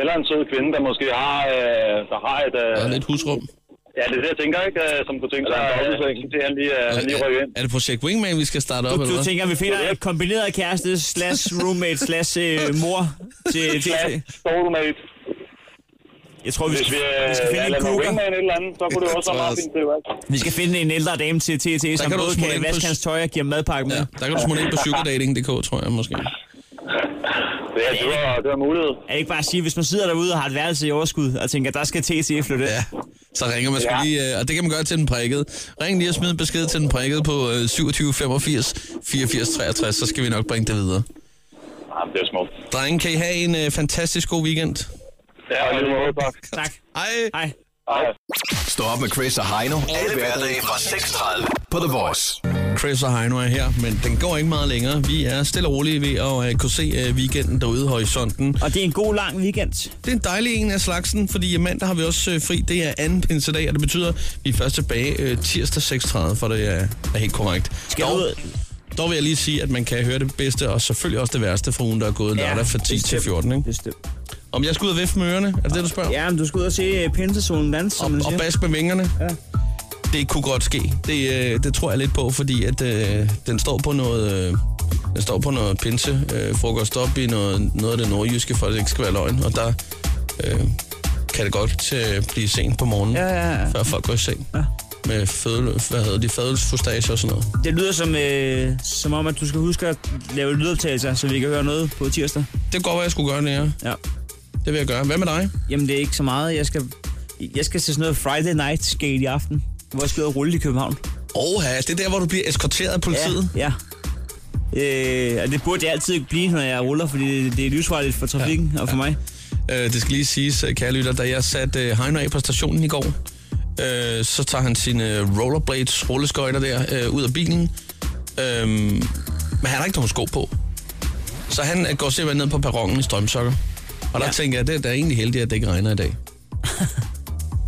S11: eller en sød kvinde, der måske har, øh, der har et... Øh,
S3: Der er lidt Altså, husrum.
S11: ja, det er det, jeg tænker, ikke? øh, Som kunne tænke sig, at han lige, øh, han lige rykker ind.
S3: Er det projekt Wingman, vi skal starte op,
S4: Du,
S3: eller
S4: du
S3: hvad?
S4: tænker, at vi finder et kombineret kæreste slash roommate slash øh, mor til TT?
S11: Soulmate.
S4: Jeg tror, vi
S11: Hvis
S4: skal,
S11: vi, øh,
S4: vi skal
S11: ja,
S4: finde en
S11: lader mig
S4: cougar.
S11: wingman et eller andet, så kunne det jo også være meget fint til, hvad?
S4: Vi skal finde en ældre dame til TT, som
S3: kan du
S4: både
S3: smutte
S4: kan
S3: ind på
S4: vaske
S3: s-
S4: hans tøj og give ham madpakke med.
S3: Der kan du smutte ind på sugardating.dk, tror jeg måske.
S11: Det er, det var, det var mulighed.
S4: Er det ikke bare at sige, hvis man sidder derude og har et værelse i overskud, og tænker, der skal TT flytte ja.
S3: Så ringer man sgu ja. lige, øh, og det kan man gøre til den prikkede. Ring lige og smid en besked til den prikkede på øh, 27 85 84 63, så skal vi nok bringe det videre.
S11: Jamen, det er smukt.
S3: Drenge, kan I have en øh, fantastisk god weekend.
S11: Ja, og lige måde, tak.
S4: Tak.
S3: Hej.
S4: Hej.
S5: Stå op med Chris og Heino. Alle hverdage fra 6.30 på The Voice.
S3: Chris og Heino er her, men den går ikke meget længere. Vi er stille og rolige ved at øh, kunne se øh, weekenden derude i horisonten.
S4: Og det er en god lang weekend.
S3: Det er en dejlig en af slagsen, fordi i mandag har vi også øh, fri. Det er anden pinsedag, og det betyder, at vi er først tilbage øh, tirsdag 6.30, for det er, er helt korrekt.
S4: Skal
S3: dog,
S4: ud?
S3: dog vil jeg lige sige, at man kan høre det bedste, og selvfølgelig også det værste fra ugen, der er gået
S4: Ja,
S3: lørdag fra 10 til
S4: bestemt.
S3: 14. Ikke?
S4: Bestemt.
S3: Om jeg skal ud og vifte med ørerne, er det det, du spørger?
S4: Ja, men du skal ud og se øh, pinsezonen danse, som man
S3: Og
S4: siger.
S3: bas med vingerne?
S4: Ja.
S3: Det kunne godt ske. Det, øh, det tror jeg lidt på, fordi at, øh, den står på noget... Øh, den står på noget pinse, øh, frokost op i noget, noget af det nordjyske, for at det ikke skal være løgn. Og der øh, kan det godt øh, blive sent på morgenen,
S4: Ja, ja, ja.
S3: før folk går i seng. Ja. Med fødel, hvad hedder de, fadelsfustager og sådan noget.
S4: Det lyder som, øh, som om, at du skal huske at lave lydoptagelser, så vi kan høre noget på tirsdag.
S3: Det går, hvad jeg skulle gøre, Nære.
S4: Ja.
S3: Det vil jeg gøre. Hvad med dig?
S4: Jamen, det er ikke så meget. Jeg skal, jeg skal til sådan noget Friday Night Skate i aften, hvor jeg skal ud og rulle i København.
S3: Oha, det er der, hvor du bliver eskorteret af politiet.
S4: Ja. ja. Øh, og det burde det altid blive, når jeg ruller, fordi det, det er livsfarligt for trafikken ja. og for mig.
S3: Øh, det skal lige siges, øh, kære lytter, da jeg satte øh, Heino af på stationen i går, øh, så tager han sine øh, rollerblades, rulleskøjter der, øh, ud af bilen. Øh, men han har ikke nogen sko på. Så han øh, går simpelthen ned på perronen i strømsokker. Og der ja. tænker jeg, det er da egentlig heldigt, at det ikke regner i dag.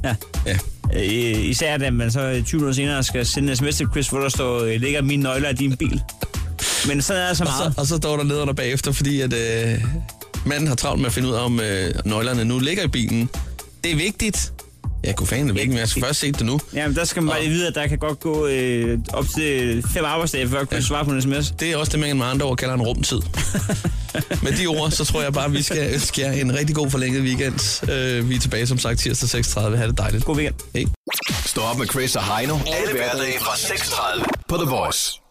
S4: Ja.
S3: Ja.
S4: Øh, især da man så øh, 20 minutter senere skal sende en sms til Chris, hvor der står, øh, ligger mine nøgler i din bil. Men sådan er der så
S3: Og
S4: meget.
S3: så, og så står der lederne bagefter, fordi at øh, manden har travlt med at finde ud af, om øh, nøglerne nu ligger i bilen. Det er vigtigt. Jeg kunne fanden det vigtigt, men jeg skal først se det nu.
S4: Jamen, der skal man bare lige vide, at der kan godt gå øh, op til fem arbejdsdage, før Chris ja. svarer på en sms.
S3: Det er også det, man med andre ord kalder en rumtid. med de ord, så tror jeg bare, at vi skal ønske jer en rigtig god forlænget weekend. Øh, vi er tilbage som sagt tirsdag 6.30. Ha' det dejligt.
S4: God weekend.
S3: Hej.
S5: Stå op med Chris og Heino. Alle hverdage fra 6.30 på The Voice.